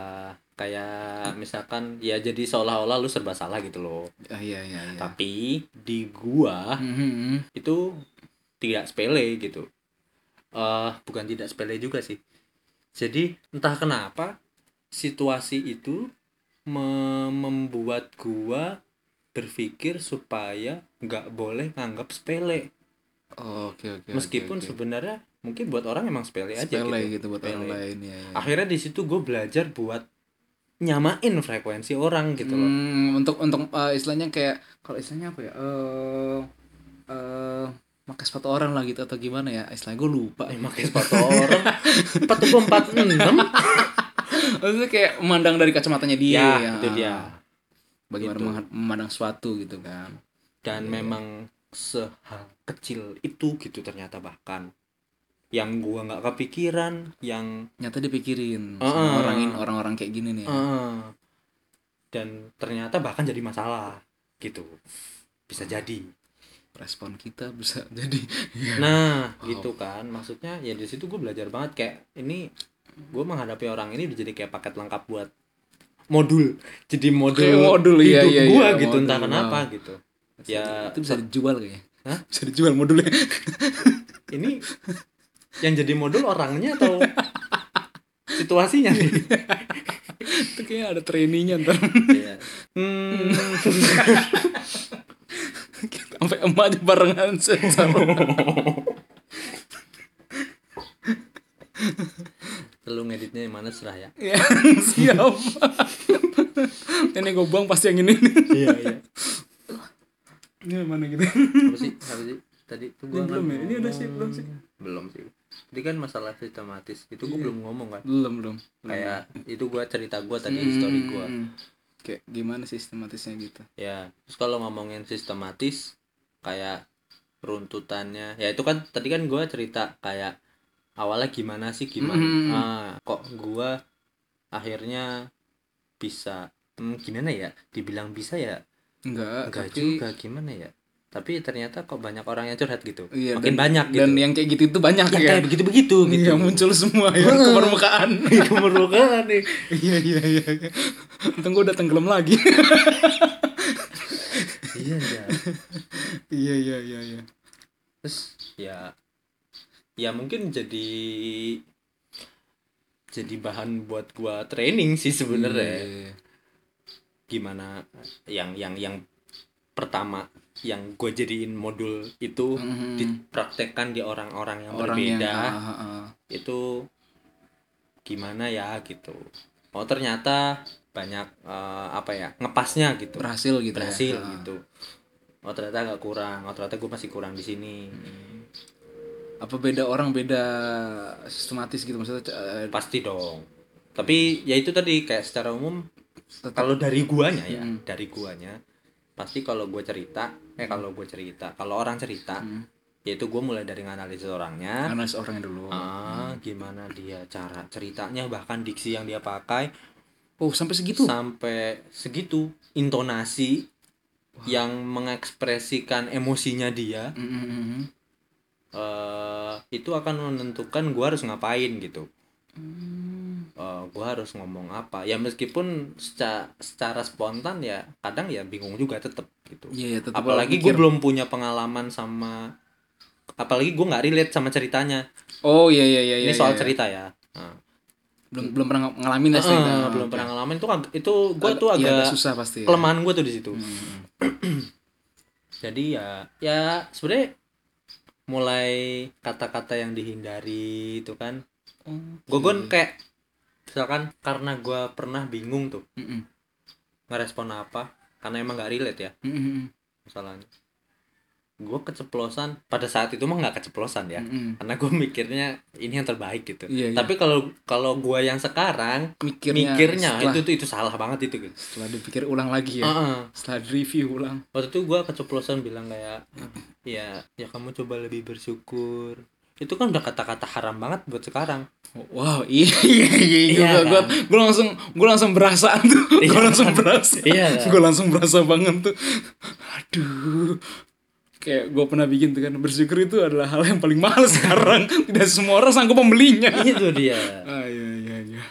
kayak misalkan ya jadi seolah-olah lu serba salah gitu loh Ah, iya iya iya tapi di gua Mhm. itu tidak sepele gitu eh bukan tidak sepele juga sih jadi entah kenapa situasi itu me- membuat gua berpikir supaya nggak boleh nganggap sepele Oh, oke oke oke, meskipun oke. sebenarnya mungkin buat orang emang sepele, sepele aja gitu. gitu buat orang Sepele. Ah, lain ya, ya. akhirnya di situ gue belajar buat nyamain frekuensi orang gitu loh Hmm, untuk untuk eh, istilahnya kayak kalau istilahnya apa ya? Eh eh pakai sepatu orang lah gitu atau gimana ya? Istilah gue lupa. eh pakai sepatu orang empat puluh empat enam Itu kayak memandang dari kacamatanya dia. ya ya. itu dia Bagaimana Gitu. mengha- memandang sesuatu gitu kan. dan Iya. memang sehal kecil itu gitu ternyata bahkan yang gua nggak kepikiran yang Nyata dipikirin Ah. sama orang ini- orang-orang kayak gini nih. eh, dan ternyata bahkan jadi masalah gitu bisa jadi Respon kita bisa jadi Iya. nah Wow. gitu kan maksudnya ya di situ gue belajar banget kayak ini gue menghadapi orang ini udah jadi kayak paket lengkap buat modul jadi modul Kayak modul, iya, hidup iya, gua iya, gitu entah modul, kenapa wow. gitu ya itu bisa dijual kayaknya. Hah? Bisa dijual modulnya. ini yang jadi modul orangnya atau situasinya nih? itu kayaknya ada trainingnya ntar Iya. Hmm. sampai emak aja barengan sama Lu ngeditnya yang mana serah ya? Ya, siapa? ini gue buang pasti yang ini. Iya, iya. ini mana gitu? Apa sih? Apa sih? Tadi tuh gua Ini belum ya? ngomong- Ini ada sih, belum sih? Belum sih. Tadi kan masalah sistematis. Itu gua Iya. belum ngomong kan. Belum belum. Hmm, Kayak itu gua cerita gua tadi story gua. Kayak gimana sistematisnya gitu? Ya, terus kalau ngomongin sistematis kayak runtutannya. Ya itu kan tadi kan gua cerita kayak awalnya gimana sih gimana. Mm. Ah, kok gua akhirnya bisa hmm, gimana ya? Dibilang bisa ya? Enggak. Enggak tapi- juga gimana ya? Tapi ternyata kok banyak orang yang curhat gitu. Iya, Makin dan- banyak gitu. Dan yang kayak gitu itu banyak yang ya. kayak begitu-begitu gitu. Iya muncul semua ya ke permukaan. Kemerluan nih. Iya iya iya. iya. Untung gue udah tenggelam lagi. Iya, iya. Iya iya iya iya. terus ya ya mungkin jadi jadi bahan buat gua training sih sebenarnya Iya. gimana yang yang yang pertama yang gue jadiin modul itu Mhm. dipraktekkan di orang-orang yang Orang yang berbeda ah, ah, ah. itu gimana ya gitu oh ternyata banyak eh, apa ya ngepasnya gitu berhasil gitu. ya. berhasil Ah. gitu oh ternyata nggak kurang oh ternyata gue masih kurang di sini Hmm. Apa beda orang beda sistematis gitu maksudnya? eh, pasti dong Hmm. tapi ya itu tadi kayak secara umum tetap- kalau dari guanya ya Mm. dari guanya pasti kalau gue cerita eh kalau gue cerita kalau orang cerita Hmm. yaitu gue mulai dari nganalisis orangnya analis orangnya dulu. ah gimana dia cara ceritanya bahkan diksi yang dia pakai Oh, sampai segitu. sampai segitu intonasi yang mengekspresikan emosinya dia Mm, mm, mm, mm. eh itu akan menentukan gue harus ngapain gitu Hmm. eh gue harus ngomong apa ya meskipun secara, secara spontan ya kadang ya bingung juga tetep gitu Iya, iya, tetap apalagi mikir. gue belum punya pengalaman sama apalagi gue nggak relate sama ceritanya Oh, iya iya iya ini iya, soal iya. cerita ya Nah, Belum belum pernah ng- ngalamin ya eh, cerita. belum Oke. pernah ngalamin itu ag- itu gue Ag- tuh iya, agak susah pasti. ya. kelemahan gue tuh di situ Hmm. jadi ya ya sebenarnya mulai kata-kata yang dihindari itu kan gue gue Hmm. kayak misalkan karena gue pernah bingung tuh Mm, mm, ngerespon apa karena emang nggak relate ya mm, mm, mm. masalahnya gue keceplosan pada saat itu mah nggak keceplosan ya Mm-mm. karena gue mikirnya ini yang terbaik gitu Hmm. Iya, iya. tapi kalau kalau gue yang sekarang mikirnya, mikirnya setelah, itu tuh itu salah banget itu gitu setelah dipikir ulang lagi ya Heeh. setelah review ulang waktu itu gue keceplosan bilang kayak Hmm. ya ya kamu coba lebih bersyukur itu kan udah kata-kata haram banget buat sekarang wow iya iya iya Iya, gue gua, kan? gua langsung gue langsung berasa tuh Iya, gue langsung kan? berasa Iya, kan? gue langsung berasa banget tuh aduh kayak gue pernah bikin tuh kan bersyukur itu adalah hal yang paling mahal sekarang tidak semua orang sanggup membelinya itu dia ah iya iya iya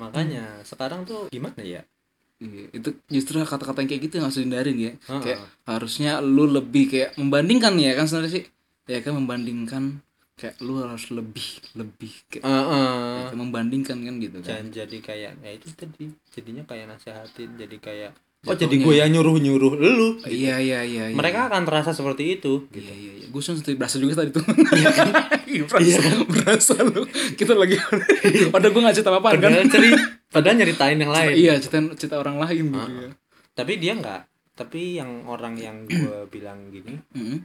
makanya sekarang tuh gimana ya Iya, itu justru kata-kata yang kayak gitu yang harus dihindarin ya. Heeh. Kayak harusnya lu lebih kayak membandingkan ya kan sebenarnya sih. Ya kan membandingkan kayak lu harus lebih lebih kayak, Heeh. kayak membandingkan kan gitu kan. dan jadi kayak ya itu tadi jadinya kayak nasihatin jadi kayak oh jadi Jatuhnya. gue yang nyuruh nyuruh lu Iya iya iya. iya. mereka akan terasa seperti itu Iya iya iya. Gue sendiri berasa juga tadi tuh. Iya kan? berasa, Iya. berasa lu. Kita lagi padahal gue gak cerita apa-apa kan. padahal ceri padahal nyeritain yang lain Ah, Iya, cerita cerita orang lain gitu ya. tapi dia nggak tapi yang orang yang gue bilang gini Mm-mm.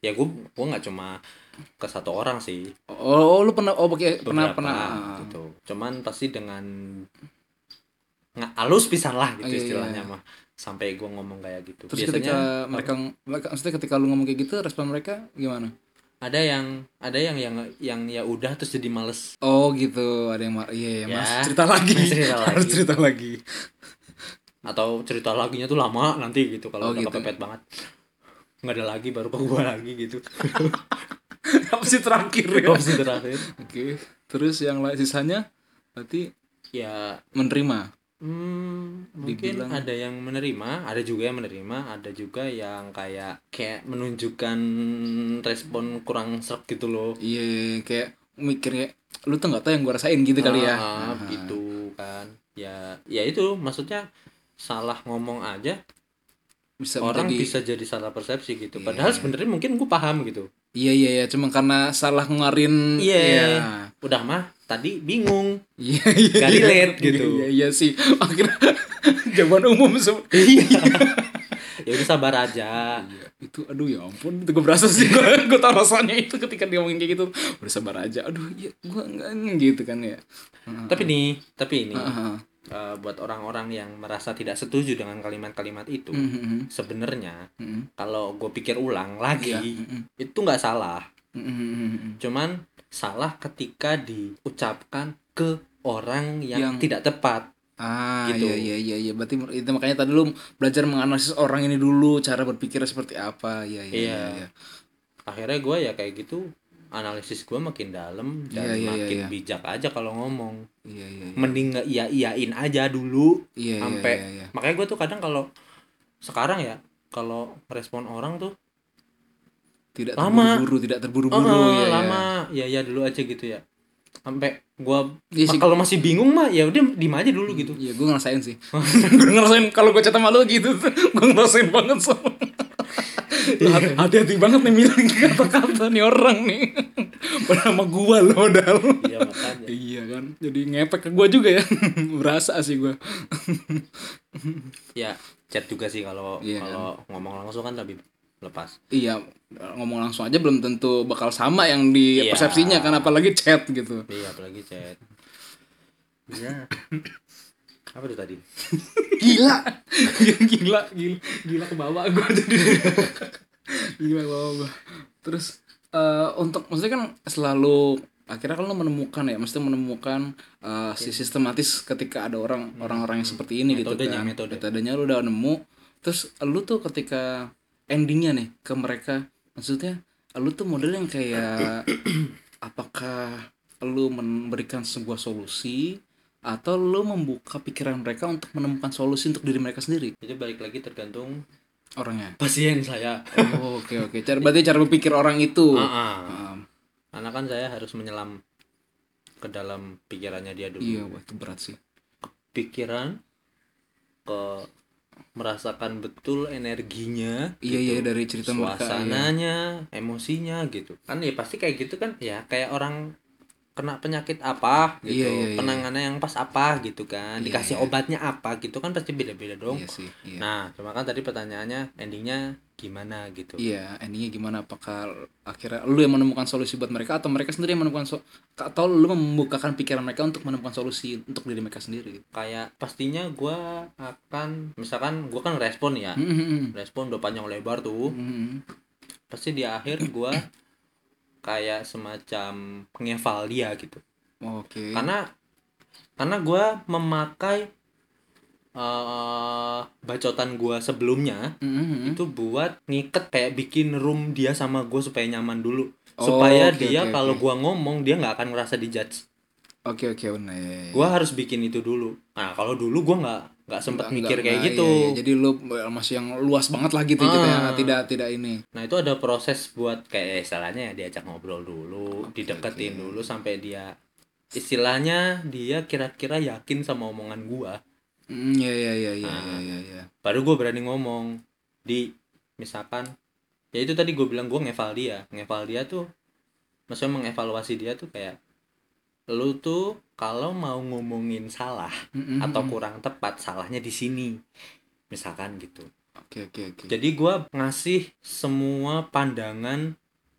ya gue gue nggak cuma ke satu orang sih Oh, oh, lu pernah oh pakai pernah beberapa pernah. gitu cuman pasti dengan nggak halus pisan lah gitu Iya, iya, istilahnya iya. mah sampai gue ngomong kayak gitu Terus ketika mereka, mereka maksudnya ketika lu ngomong kayak gitu respon mereka gimana? ada yang ada yang yang yang ya udah terus jadi males Oh gitu, ada yang mar- iya, iya, Ya, Mas, cerita lagi. Mas cerita Harus lagi. cerita lagi. atau cerita laginya tuh lama nanti Oh, gitu kalau udah gitu. kepepet banget nggak ada lagi baru ke gue lagi gitu Apa sih terakhir ya? Oke, opsi terakhir terus yang lain sisanya berarti ya menerima. hmm, mungkin Dibilang- ada yang menerima ada juga yang menerima ada juga yang kayak kayak menunjukkan respon kurang serp gitu loh Iya, iya, iya, kayak mikirnya lu tuh nggak tahu yang gua rasain gitu kali ya. Ah, Nah, gitu kan ya ya itu maksudnya salah ngomong aja Bisa orang menjadi- bisa jadi salah persepsi gitu Iya. padahal sebenarnya mungkin gue paham gitu Iya, iya, iya, cuma karena salah ngeluarin Iya. iya. udah mah tadi bingung Iya, iya. Gak iya. relate gitu. Iya, iya, iya sih. Akhirnya jawaban umum semua. ya udah sabar aja Iya, itu aduh ya ampun itu gue berasa sih gue gue tau rasanya itu ketika dia ngomongin kayak gitu udah sabar aja aduh ya gue enggak gitu kan ya tapi nih tapi ini Heeh. eh, buat orang-orang yang merasa tidak setuju dengan kalimat-kalimat itu Mhm, mhm, sebenarnya mhm, kalau gue pikir ulang lagi Iya, mhm, itu nggak salah mhm, mhm, mhm. cuman salah ketika diucapkan ke orang Yang- yang, tidak tepat ah Gitu. iya iya iya iya berarti itu makanya tadi lu belajar menganalisis orang ini dulu cara berpikirnya seperti apa iya iya Iya. iya iya. akhirnya gue ya kayak gitu analisis gue makin dalam dan Iya, iya, iya, makin iya. bijak aja kalau ngomong iya iya iya mending nggak iya iyain aja dulu iya iya sampai- iya, iya. makanya gue tuh kadang kalau sekarang ya kalau respon orang tuh tidak Lama. terburu-buru tidak Oh, terburu-buru ya, ya. lama ya ya dulu aja gitu ya sampai gua Iya sih. Ma- kalau masih bingung mah ya udah diem aja dulu gitu Iya, gue ngerasain sih. gue ngerasain kalau gue chat sama lu gitu, gue ngerasain banget sama. Iya. Hati- Hati-hati banget nih milih kata-kata nih orang nih. Padahal sama gue lo modal. iya makanya iya kan, jadi ngepek ke gue juga ya. Berasa sih gue. ya chat juga sih kalau Iya, kalau ngomong langsung kan lebih lepas iya, ngomong langsung aja belum tentu bakal sama yang di Iya. persepsinya kan, apalagi chat gitu. iya apalagi chat Iya. ya apa tuh tadi Gila, Iya, gila, gila, gila ke bawah gue jadi. gila ke bawah gua. Terus eh, untuk maksudnya kan selalu akhirnya kan lo menemukan ya, mesti menemukan eh, si sistematis ketika ada orang orang-orang yang seperti ini gitu Hmm. Metodenya, kan. metode. Metodenya lo udah nemu. Terus lu tuh ketika endingnya nih ke mereka, maksudnya lu tuh model yang kayak apakah lu memberikan sebuah solusi atau lu membuka pikiran mereka untuk menemukan solusi untuk diri mereka sendiri itu balik lagi tergantung orangnya pasien saya Oh, oke oke cara berarti cara berpikir orang itu Ah, ah. Um, karena kan saya harus menyelam ke dalam pikirannya dia dulu iya wah itu berat sih pikiran ke merasakan betul energinya gitu. iya iya dari cerita mereka iya. suasananya, emosinya gitu. Kan ya pasti kayak gitu kan ya, kayak orang kena penyakit apa gitu Iya, iya, iya. penangannya yang pas apa gitu kan Iya, iya. dikasih obatnya apa gitu kan pasti beda-beda dong Iya sih. Iya. nah cuma kan tadi pertanyaannya endingnya gimana gitu Iya, endingnya gimana? Apakah akhirnya lu yang menemukan solusi buat mereka atau mereka sendiri yang menemukan so atau lu membukakan pikiran mereka untuk menemukan solusi untuk diri mereka sendiri? kayak pastinya gua akan misalkan gua kan respon ya Hmm, hmm, hmm. respon udah panjang lebar tuh Hmm, pasti di akhir gua kayak semacam ngeval dia gitu Oke. karena karena gue memakai eh bacotan gue sebelumnya Hmm, hmm, hmm. itu buat ngiket kayak bikin room dia sama gue supaya nyaman dulu Oh, supaya oke, oke, dia kalau oke. gua ngomong dia nggak akan ngerasa dijudge Oke oke benar. ya, ya, ya. gue harus bikin itu dulu nah kalau dulu gua nggak nggak sempet Enggak, mikir enggak, kayak iya, gitu iya. Jadi lu masih yang luas banget lah gitu gitu ya. Ah. Tidak tidak ini. nah itu ada proses buat kayak istilahnya ya diajak ngobrol dulu Oke, dideketin oke. dulu sampai dia istilahnya dia kira-kira yakin sama omongan gua Hmm, ya ya ya ya ya Ah. ya. ya. baru gue berani ngomong di misalkan ya itu tadi gue bilang gue ngeval dia ngeval dia tuh maksudnya mengevaluasi dia tuh kayak lu tuh kalau mau ngomongin salah Hmm, hmm, atau hmm. kurang tepat salahnya di sini misalkan gitu Oke oke oke. jadi gue ngasih semua pandangan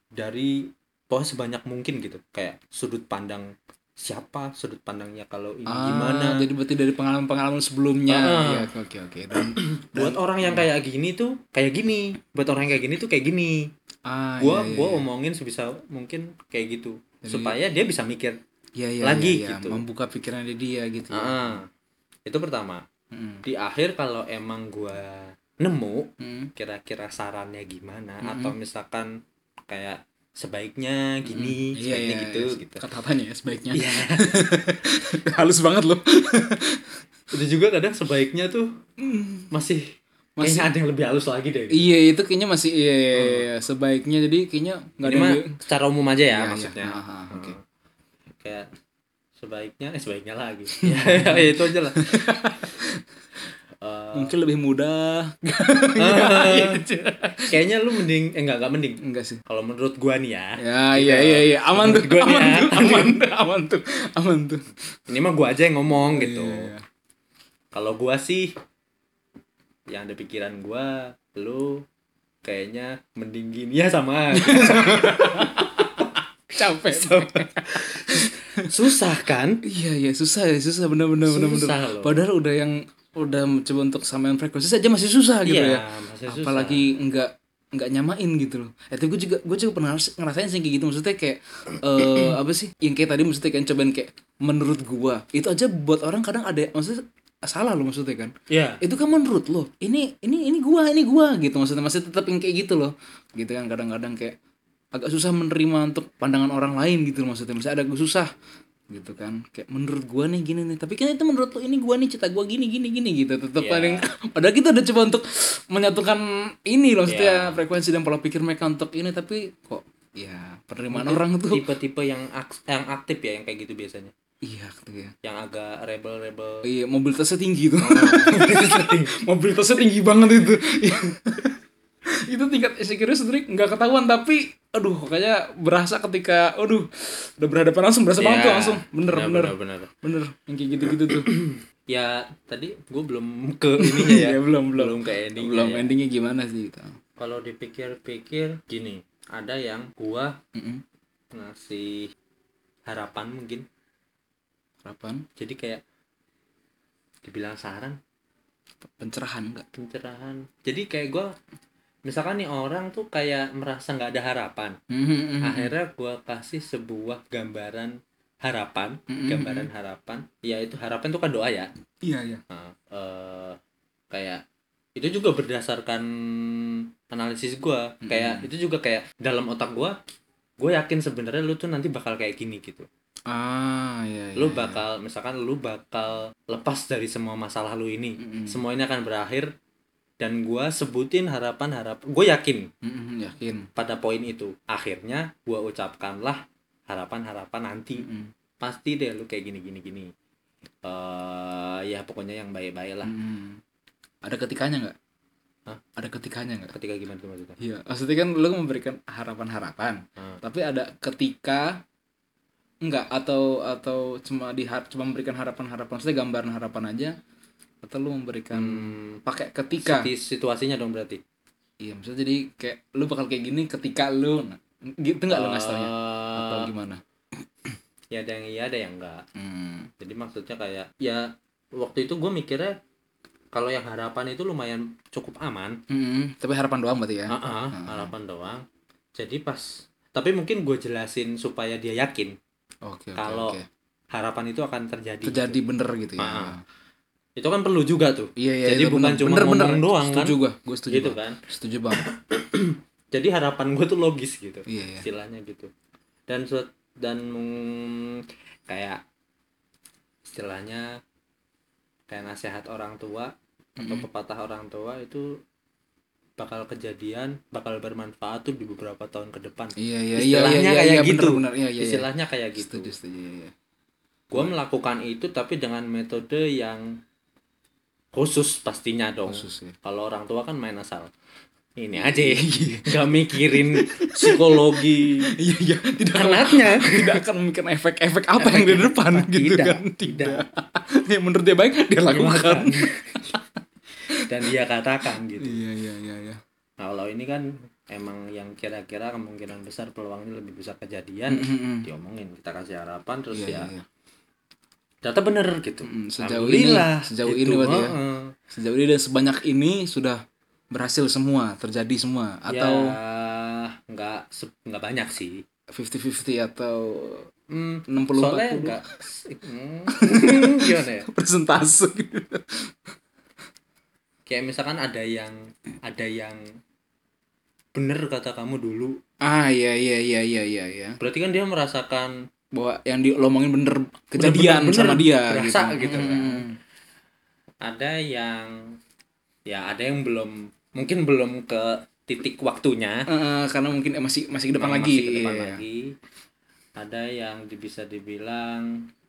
dari pokoknya sebanyak mungkin gitu kayak sudut pandang siapa sudut pandangnya kalau ini Ah, gimana Jadi berarti dari pengalaman-pengalaman sebelumnya. Ah. Iya, oke oke oke. Dan buat orang yang iya. kayak gini tuh kayak gini buat orang yang kayak gini tuh kayak gini ah, gua iya, iya, gua iya. omongin sebisa mungkin kayak gitu Jadi- supaya dia bisa mikir Iya, iya, iya, lagi iya. gitu. membuka pikiran dia gitu. ya. "Ah, itu pertama Mm, di akhir kalau emang gua nemu mm, kira-kira sarannya gimana Mm-mm. atau misalkan kayak sebaiknya mm. Iya, gini sebaiknya iya, gitu iya. gitu Kata-katanya ya, sebaiknya. Iya. Halus banget loh. itu juga kadang sebaiknya tuh masih Hmm. Masih- masih ada yang lebih halus lagi deh iya, itu kayaknya masih iya, iya, iya. sebaiknya jadi kayaknya nggak Oh. ini ada mah yang- secara umum aja ya Iya, iya. maksudnya Ah, ah, oke. Hmm. kayak sebaiknya eh sebaiknya lagi ya ya, itu aja lah Eh, Mungkin lebih mudah. Iya, Ah, kayaknya lu mending eh enggak enggak mending Enggak sih. kalau menurut gua nih ya Ya, iya, iya, iya. Aman tuh, Menurut gua aman nih tuh, ya. aman tuh, aman tuh, aman tuh. ini mah gua aja yang ngomong gitu Iya, iya. kalau gua sih yang ada pikiran gua lu kayaknya mending gini ya sama Capek. susah kan Iya iya susah ya susah bener-bener bener-bener. Susah loh. Padahal udah yang udah mencoba untuk samain frekuensi saja masih susah gitu ya. Iya, masih susah. Apalagi nggak nggak nyamain gitu loh. Ya, tapi gue juga gue juga pernah ngeras- ngerasain sih kayak gitu maksudnya kayak eh apa sih yang kayak tadi maksudnya kayak cobain kayak menurut gua itu aja buat orang kadang ada maksudnya salah loh maksudnya kan ya itu kan menurut lo ini ini ini gua ini gua gitu maksudnya masih tetap yang kayak gitu loh gitu kan kadang-kadang kayak agak susah menerima untuk pandangan orang lain gitu loh maksudnya misalnya ada gue susah gitu kan kayak menurut gua nih gini nih tapi kan itu menurut lo ini gua nih cita gua gini gini gini gitu tetap Iya. paling padahal kita udah coba untuk menyatukan ini loh maksudnya Iya. frekuensi dan pola pikir mereka untuk ini tapi kok ya penerimaan Mungkin orang tuh tipe-tipe yang aks- yang aktif ya yang kayak gitu biasanya iya tuh ya yang agak rebel-rebel iya mobilitasnya tinggi tuh mobilitasnya tinggi banget itu itu tingkat insecure sendiri nggak ketahuan tapi aduh kayaknya berasa ketika aduh udah berhadapan langsung berasa banget Iya, tuh langsung bener benar, bener benar, benar. bener yang kayak gitu gitu tuh ya tadi gue belum ke ininya ya Ya, belum, belum. belum ke endingnya belum ya. endingnya gimana sih gitu kalau dipikir-pikir gini ada yang gua Mm-mm. ngasih harapan mungkin harapan jadi kayak dibilang saran pencerahan enggak pencerahan jadi kayak gua misalkan nih orang tuh kayak merasa nggak ada harapan Mm-hmm, akhirnya gua kasih sebuah gambaran harapan Mm-mm. gambaran harapan ya itu harapan tuh kan doa ya iya iya Nah, eh, kayak itu juga berdasarkan analisis gua kayak Mm-mm. itu juga kayak dalam otak gua gue yakin sebenarnya lu tuh nanti bakal kayak gini gitu ah iya iya iya. lu bakal misalkan lu bakal lepas dari semua masalah lu ini Mm-mm. semua ini akan berakhir dan gua sebutin harapan harapan gue yakin Mm-mm, yakin pada poin itu akhirnya gua ucapkanlah harapan harapan nanti Mm-mm. pasti deh lu kayak gini gini gini eh ya pokoknya yang baik-baik lah Mm-mm. ada ketikanya nggak Hah? ada ketikanya nggak ketika gimana tuh maksudnya Iya, maksudnya kan lu memberikan harapan-harapan, Hmm. tapi ada ketika enggak atau atau cuma di cuma memberikan harapan-harapan maksudnya gambaran harapan aja atau lu memberikan Hmm. pakai ketika Di situasinya dong berarti. iya maksudnya jadi kayak lu bakal kayak gini ketika lu nah, gitu enggak lu ngasih taunya atau Eh, gimana ya ada yang iya ada yang enggak. hmm. Jadi maksudnya kayak ya waktu itu gue mikirnya kalau yang harapan itu lumayan cukup aman. Mm-mm. tapi harapan doang berarti ya Ah, ah, harapan doang. Jadi pas tapi mungkin gue jelasin supaya dia yakin oke oke kalau oke. harapan itu akan terjadi. terjadi bener gitu ya Ah. Itu kan perlu juga tuh. iya iya itu Jadi bukan bener. cuma Bener, bener. ngomong doang kan. setuju gua gua setuju Gitu banget. kan. setuju banget Jadi harapan gue tuh logis gitu. iya iya istilahnya gitu dan suat- dan mm, kayak istilahnya kayak nasihat orang tua atau Mm-mm. pepatah orang tua itu bakal kejadian bakal bermanfaat tuh di beberapa tahun ke depan iya iya iya Istilahnya iya, kayak iya, bener, gitu. bener. iya iya iya. istilahnya kayak gitu setuju setuju iya, iya. gue melakukan itu tapi dengan metode yang khusus pastinya dong khusus Iya, ya kalau orang tua kan main asal ini aja gak mikirin psikologi iya iya tidak anaknya tidak akan memikirkan efek-efek apa yang di depan gitu Tidak, kan tidak yang menurut dia baik dia lakukan dan dia katakan gitu iya iya iya iya Nah, kalau ini kan emang yang kira-kira kemungkinan besar peluangnya lebih besar kejadian Mm-mm. diomongin kita kasih harapan Iya, terus iya, ya iya. ternyata bener gitu Mm, sejauh ini- Alhamdulillah, gitu. sejauh ini berarti ya. heeh. sejauh ini dan sebanyak ini sudah berhasil semua terjadi semua atau ya nggak se- nggak banyak sih 50-50 atau hmm, 60 soalnya 40 nggak Hmm, gimana ya persentase kayak misalkan ada yang ada yang bener kata kamu dulu ah iya iya iya iya iya iya berarti kan dia merasakan bahwa yang diomongin bener kejadian bener, sama dia berasa gitu kan. Mm. ada yang ya ada yang belum mungkin belum ke titik waktunya Eh, karena mungkin eh, masih masih ke depan Emang lagi masih ke depan Iya. lagi ada yang di- bisa dibilang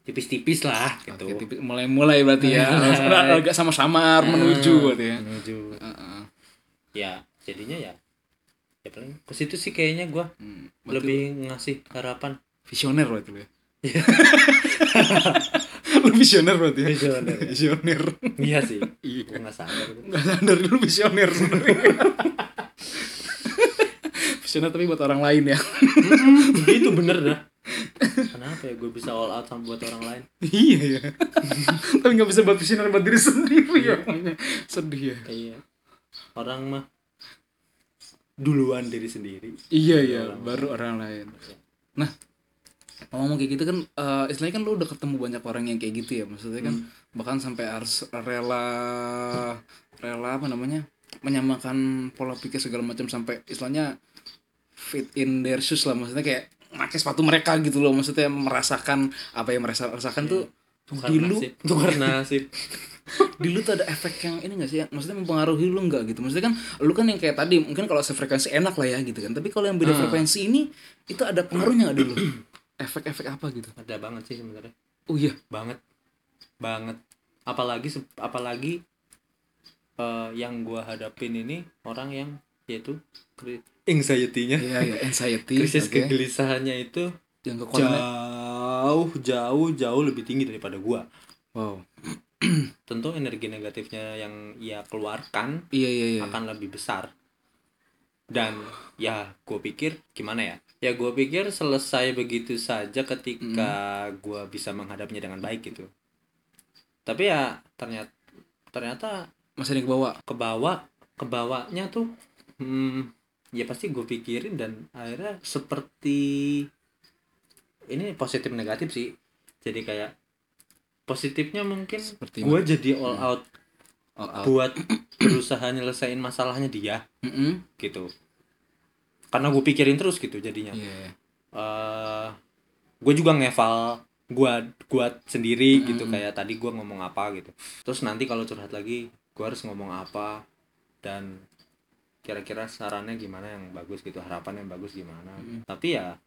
tipis-tipis lah gitu Oke, tipi- mulai-mulai berarti ya. Karena agak sama-sama menuju berarti ya. menuju Heeh. ya jadinya ya ya paling ke situ sih kayaknya gua Hmm, berarti lebih ngasih harapan visioner berarti lu ya. lu visioner berarti ya. Visioner, ya. Visioner. iya sih Iya. gua nggak sadar Enggak sadar lu visioner sebenarnya. visioner tapi buat orang lain ya. itu bener dah kenapa ya gue bisa all out sama buat orang lain iya ya. tapi nggak bisa buat visioner buat diri sendiri ya. Sedih ya. Iya. Orang mah duluan diri sendiri. Iya iya, baru orang lain. Nah, ngomong kayak gitu kan eh, istilahnya kan lu udah ketemu banyak orang yang kayak gitu ya. Maksudnya kan bahkan sampai harus rela rela apa namanya? menyamakan pola pikir segala macam sampai istilahnya fit in their shoes lah maksudnya kayak pakai sepatu mereka gitu loh maksudnya merasakan apa yang mereka rasakan tuh Tukar di lu nasib. Tukar nasib. di lu tuh ada efek yang ini gak sih yang maksudnya mempengaruhi lu nggak gitu maksudnya kan lu kan yang kayak tadi mungkin kalau sefrekuensi enak lah ya gitu kan tapi kalau yang beda frekuensi ini itu ada pengaruhnya nggak dulu efek-efek apa gitu Ada banget sih sebenarnya. oh iya Banget. Banget. Apalagi se- apalagi eh, yang gua hadapin ini orang yang yaitu kri- anxiety-nya, iya iya anxiety krisis oke. kegelisahannya itu yang kekuatan jauh jauh jauh lebih tinggi daripada gua. wow Tentu energi negatifnya yang ia keluarkan iya iya iya akan lebih besar dan ya gue pikir gimana ya ya gue pikir selesai begitu saja ketika gue bisa menghadapinya dengan baik gitu tapi ya ternyata ternyata masih ada yang kebawa kebawa kebawanya tuh hmm, ya pasti gue pikirin dan akhirnya seperti ini positif negatif sih jadi kayak positifnya mungkin seperti Oh, gue jadi all out Hmm. all out buat berusaha nyelesain masalahnya dia oh. Mm-mm. gitu karena gue pikirin terus gitu jadinya iya iya. eh gue juga ngeval gue gue sendiri gitu kayak tadi gue ngomong apa gitu terus nanti kalau curhat lagi gue harus ngomong apa dan kira-kira sarannya gimana yang bagus gitu harapan yang bagus gimana tapi ya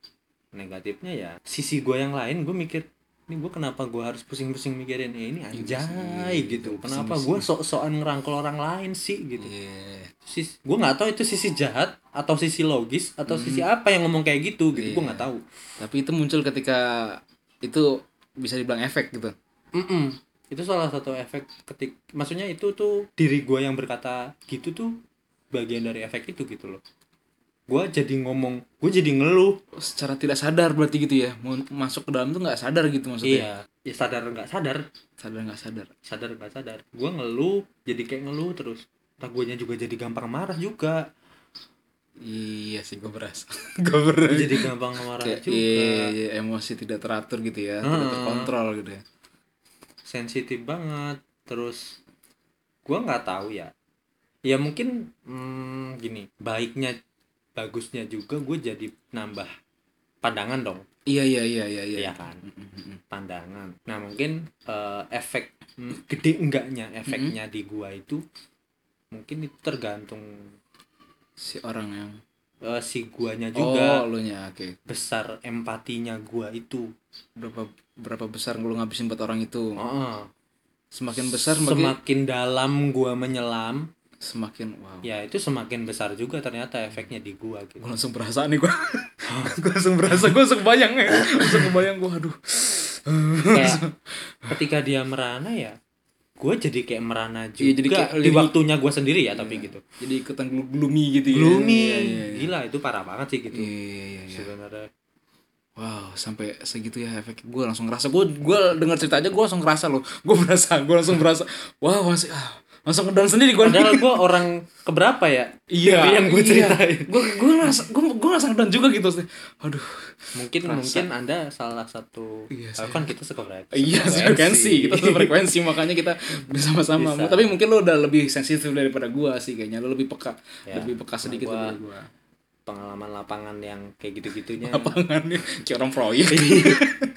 negatifnya ya sisi gue yang lain gue mikir ini gue kenapa gue harus pusing-pusing mikirin eh, ini anjay sih, itu gitu Iya kenapa pusing-pusing. gue sok-sokan ngerangkul orang lain sih gitu Iya. sis gue nggak tahu itu sisi jahat atau sisi logis Hmm. atau sisi apa yang ngomong kayak gitu Iya. gitu gue nggak tahu Tapi itu muncul ketika itu bisa dibilang efek gitu. Mm-mm. itu salah satu efek ketik maksudnya itu tuh diri gue yang berkata gitu tuh bagian dari efek itu gitu loh gue jadi ngomong gue jadi ngeluh Secara tidak sadar berarti gitu ya. Mau masuk ke dalam tuh nggak sadar gitu maksudnya. iya ya sadar nggak sadar Sadar nggak sadar. sadar nggak sadar gue ngeluh jadi kayak ngeluh terus tak guanya juga jadi gampang marah juga Iya sih gue berasa. gue berasa. jadi gampang marah Kayak, juga Hmm. iya, iya, emosi tidak teratur gitu ya, tidak Heeh. terkontrol gitu ya. sensitif banget terus gua nggak tahu ya ya mungkin hmm, gini baiknya bagusnya juga gue jadi nambah pandangan dong Iya iya iya iya iya. Iya kan? pandangan nah mungkin eh, efek hmm, gede enggaknya efeknya Mm-hmm. di gua itu mungkin itu tergantung Si orang yang eh, si guanya juga Oh, lu nya oke. besar empatinya gua itu Berapa berapa besar lu ngabisin buat orang itu? Heeh. Semakin besar semakin semakin dalam gua menyelam semakin wow. ya itu semakin besar juga ternyata efeknya di gua gitu Gue langsung berasa nih gue. gue langsung berasa, gue langsung bayang ya. Langsung kebayang gue aduh. kayak ketika dia merana ya gue jadi kayak merana juga Iya, jadi kayak di lebih- waktunya gue sendiri ya tapi gitu Jadi ikutan glu- gloomy gitu ya. gloomy Iya iya iya. gila itu parah banget sih gitu Iya, iya, iya. sebenarnya Wow, sampai segitu ya efek. Gue langsung ngerasa. Gue gue denger cerita aja gue langsung ngerasa loh. Gue berasa, gue langsung berasa. Wow, masih ah, langsung ngedown sendiri gue. padahal gue orang keberapa ya Iya, Tapi yang gue ceritain Gue gue ngerasa gue gue ngerasa ngedown juga gitu. maksudnya. Aduh. mungkin mungkin anda salah satu Iya, Ah, kan kita sekolah Iya, frekuensi. Kita satu frekuensi makanya kita bersama-sama. Bisa. Tapi mungkin lo udah lebih sensitif daripada gua sih kayaknya. Lo lebih peka, Ya, lebih peka sedikit gua- daripada gua. pengalaman lapangan yang kayak gitu gitunya Lapangan nih, kayak orang proyek. Iya.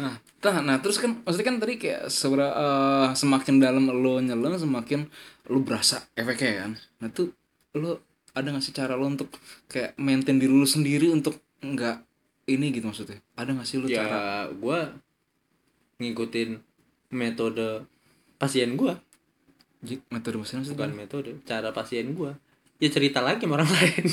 nah, tah- nah terus kan maksudnya kan tadi kayak sebera- eh, semakin dalam lo nyelam semakin lo berasa efeknya kan. Nah tuh lo ada gak sih cara lo untuk kayak maintain diri lo sendiri untuk nggak ini gitu maksudnya? Ada gak sih lo cara? ya gue ngikutin metode pasien gue Ji- Metode maksudnya maksudnya bukan metode cara pasien gue ya cerita lagi sama orang lain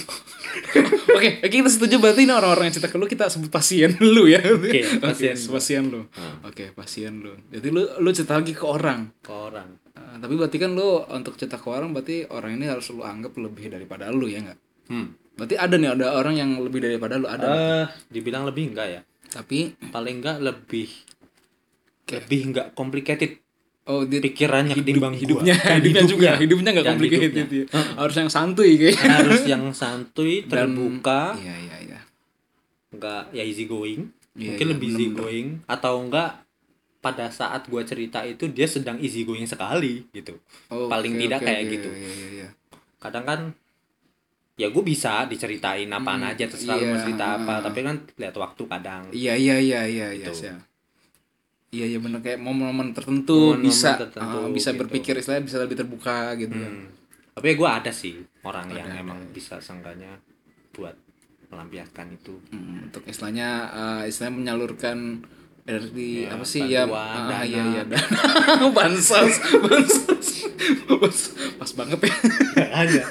Oke, oke, kita setuju berarti ini orang-orang yang cerita ke lu kita sebut pasien lu ya. Oke, pasien. pasien lu. Oke, pasien lu. Jadi lu lu cerita lagi ke orang. ke orang Eh, tapi berarti kan lu untuk cerita ke orang berarti orang ini harus lu anggap lebih daripada lu ya enggak? Hmm. Berarti ada nih ada orang yang lebih daripada lu ada. Eh, dibilang lebih enggak ya? Tapi Paling enggak lebih lebih enggak complicated oh dia pikirannya ketimbang gua. hidupnya Dan hidupnya juga hidupnya nggak Dan complicated hidupnya. ya. Harus yang santuy kayaknya. harus yang santuy, terbuka, Iya, iya, iya. enggak ya easy going. Iya, Mungkin iya, lebih bener, easy bener. going atau enggak pada saat gua cerita itu dia sedang easy going sekali gitu. Oh, Paling oke, tidak oke, kayak oke, gitu. Iya, iya, iya. Kadang kan ya gue bisa diceritain apaan Hmm, aja terserah iya. lu mau cerita apa, tapi kan lihat waktu kadang. Iya iya iya iya iya Gitu. siap. Iya iya benar kayak momen-momen tertentu Momen-momen bisa tertentu, ah, bisa gitu. berpikir istilahnya bisa lebih terbuka gitu. Hmm. Tapi gue ada sih orang yang emang bisa seenggaknya buat melampiaskan itu. Hmm, untuk istilahnya eh, istilahnya menyalurkan energi Ya, apa sih bantuan, ya ah, dana. iya iya dana. bansos bansos Pas- pas banget ya ada.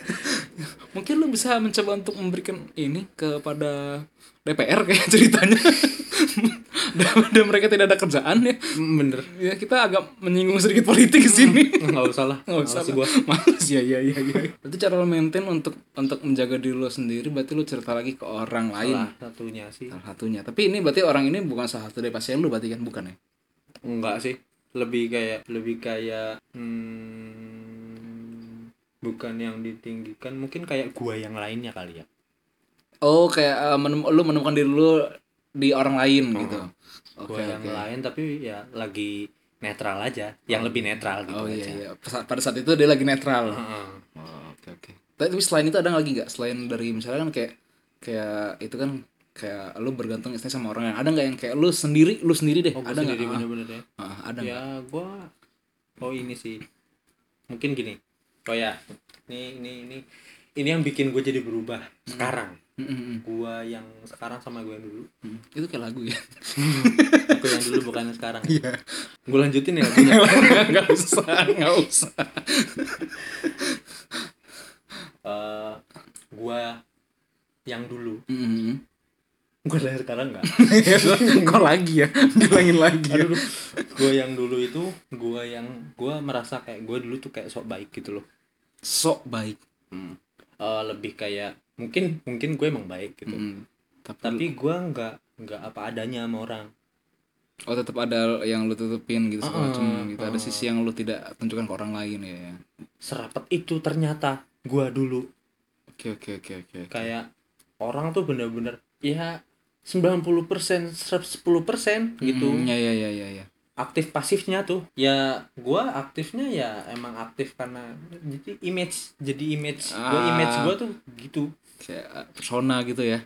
mungkin lu bisa mencoba untuk memberikan ini kepada DPR kayak ceritanya daripada mereka tidak ada kerjaan ya Mm, Bener. ya kita agak menyinggung sedikit politik di sini Nggak usah lah. Nggak usah Males gua. gua. Males ya ya ya ya. Itu cara lo maintain untuk untuk menjaga diri lo sendiri berarti lo cerita lagi ke orang lain. Salah satunya sih. Salah satunya. Tapi ini berarti orang ini bukan salah satu dari pasien lu berarti kan bukan ya? Enggak sih. Lebih kayak lebih kayak hmm, bukan yang ditinggikan mungkin kayak gua yang lainnya kali ya. Oh, kayak eh, menem- lu menemukan diri lu di orang lain gitu. Oke, Gua yang oke. lain tapi ya lagi netral aja, yang lebih netral gitu Oh iya aja. iya. Pas- Pada saat itu dia lagi netral. Heeh. Oh, oke oke. Tapi selain itu ada lagi nggak? Selain dari misalnya kan kayak kayak itu kan kayak lu bergantung istilahnya sama orang lain. Ada nggak yang kayak lu sendiri lu sendiri deh? Oh, gua ada nggak? sendiri Ah, bener-bener ya. ah, ada nggak? ya gua oh ini sih mungkin gini oh ya ini ini ini ini yang bikin gue jadi berubah sekarang Mm, mm, mm. gue yang sekarang sama gue yang dulu Mm. Itu kayak lagu ya. gue yang dulu bukan yang sekarang Iya. gue lanjutin ya lagunya. Enggak usah, enggak usah. Eh, gue yang dulu Mm, mm, mm. gue lahir sekarang nggak Kok lagi ya? Bilangin lagi ya. aduh gue yang dulu itu gue yang gue merasa kayak gue dulu tuh kayak sok baik gitu loh Sok baik. Eh, lebih kayak mungkin mungkin gue emang baik gitu Mm, Tapi, tapi gue nggak nggak apa adanya sama orang oh tetap ada yang lu tutupin gitu segala Ah, macam gitu. Ada ah. sisi yang lu tidak tunjukkan ke orang lain ya. serapat itu ternyata gue dulu Oke, oke, oke, oke. kayak orang tuh bener-bener ya 90 persen 10 gitu Mm, Ya, ya, ya, ya, ya. aktif pasifnya tuh ya gua aktifnya ya emang aktif karena jadi image jadi image gua Ah. image gua tuh gitu Kayak uh, persona gitu ya.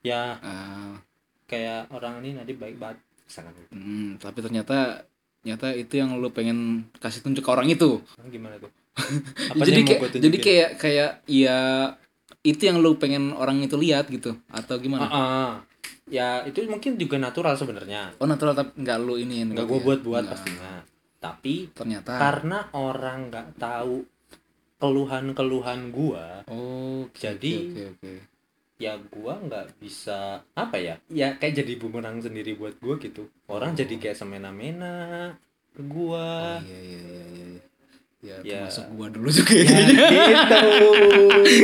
ya Ah, kayak orang ini nanti baik banget misalkan gitu. mm, tapi ternyata ternyata itu yang lu pengen kasih tunjuk ke orang itu. gimana tuh jadi yang mau kayak gua tunjukin? jadi kayak kayak ya itu yang lu pengen orang itu lihat gitu atau Ah, gimana? ah. ya itu mungkin juga natural sebenarnya Oh natural tapi nggak lu ini nggak gua Iya. buat-buat pastinya tapi Ternyata. karena orang nggak tahu keluhan-keluhan gua oh oke, Jadi- oke, oke, oke. ya gua nggak bisa apa ya ya kayak jadi bumerang sendiri buat gua gitu orang jadi kayak semena-mena ke Oh, gua iya iya iya iya iya. ya, Ya. termasuk gua dulu juga ya. Ya, gitu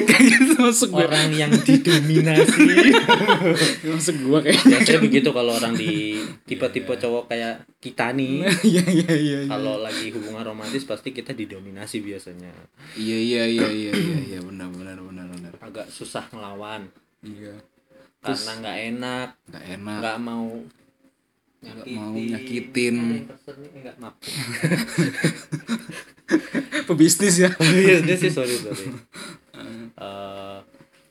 kayaknya termasuk gua orang yang didominasi termasuk gua kayaknya biasanya begitu kalau orang di tipe-tipe cowok kayak kita nih iya iya iya iya. kalau lagi hubungan romantis pasti kita didominasi biasanya iya iya iya iya iya iya benar benar benar benar agak susah ngelawan iya karena nggak enak nggak enak nggak mau Nggak mau nyakitin. Ada yang pesen nih, nggak maaf pebisnis ya Iya sih sorry sorry. Eh,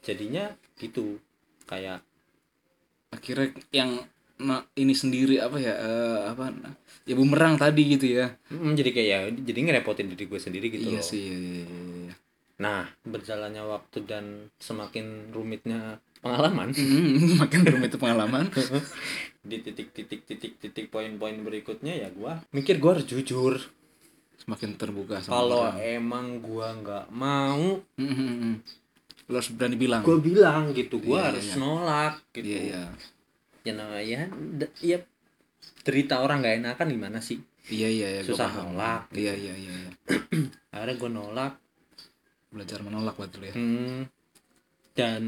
jadinya gitu kayak akhirnya yang na- ini sendiri apa ya eh, apa ya bumerang tadi gitu ya mm, jadi kayak ya jadi ngerepotin diri gue sendiri gitu iya loh. sih iya, iya, iya, iya. Nah berjalannya waktu dan semakin rumitnya pengalaman Hmm, makin rumit pengalaman di titik-titik-titik-titik poin-poin berikutnya ya gua mikir gua harus jujur semakin terbuka sama kalau orang. emang gua nggak mau Hmm, hmm, hmm. lo harus berani bilang gua bilang Iya, gitu iya, gua harus iya. nolak gitu iya iya ya namanya ya, d- ya cerita orang nggak enakan gimana sih iya iya iya gua Susah paham. nolak, iya iya iya iya. akhirnya gua nolak belajar menolak buat lu ya Hmm, dan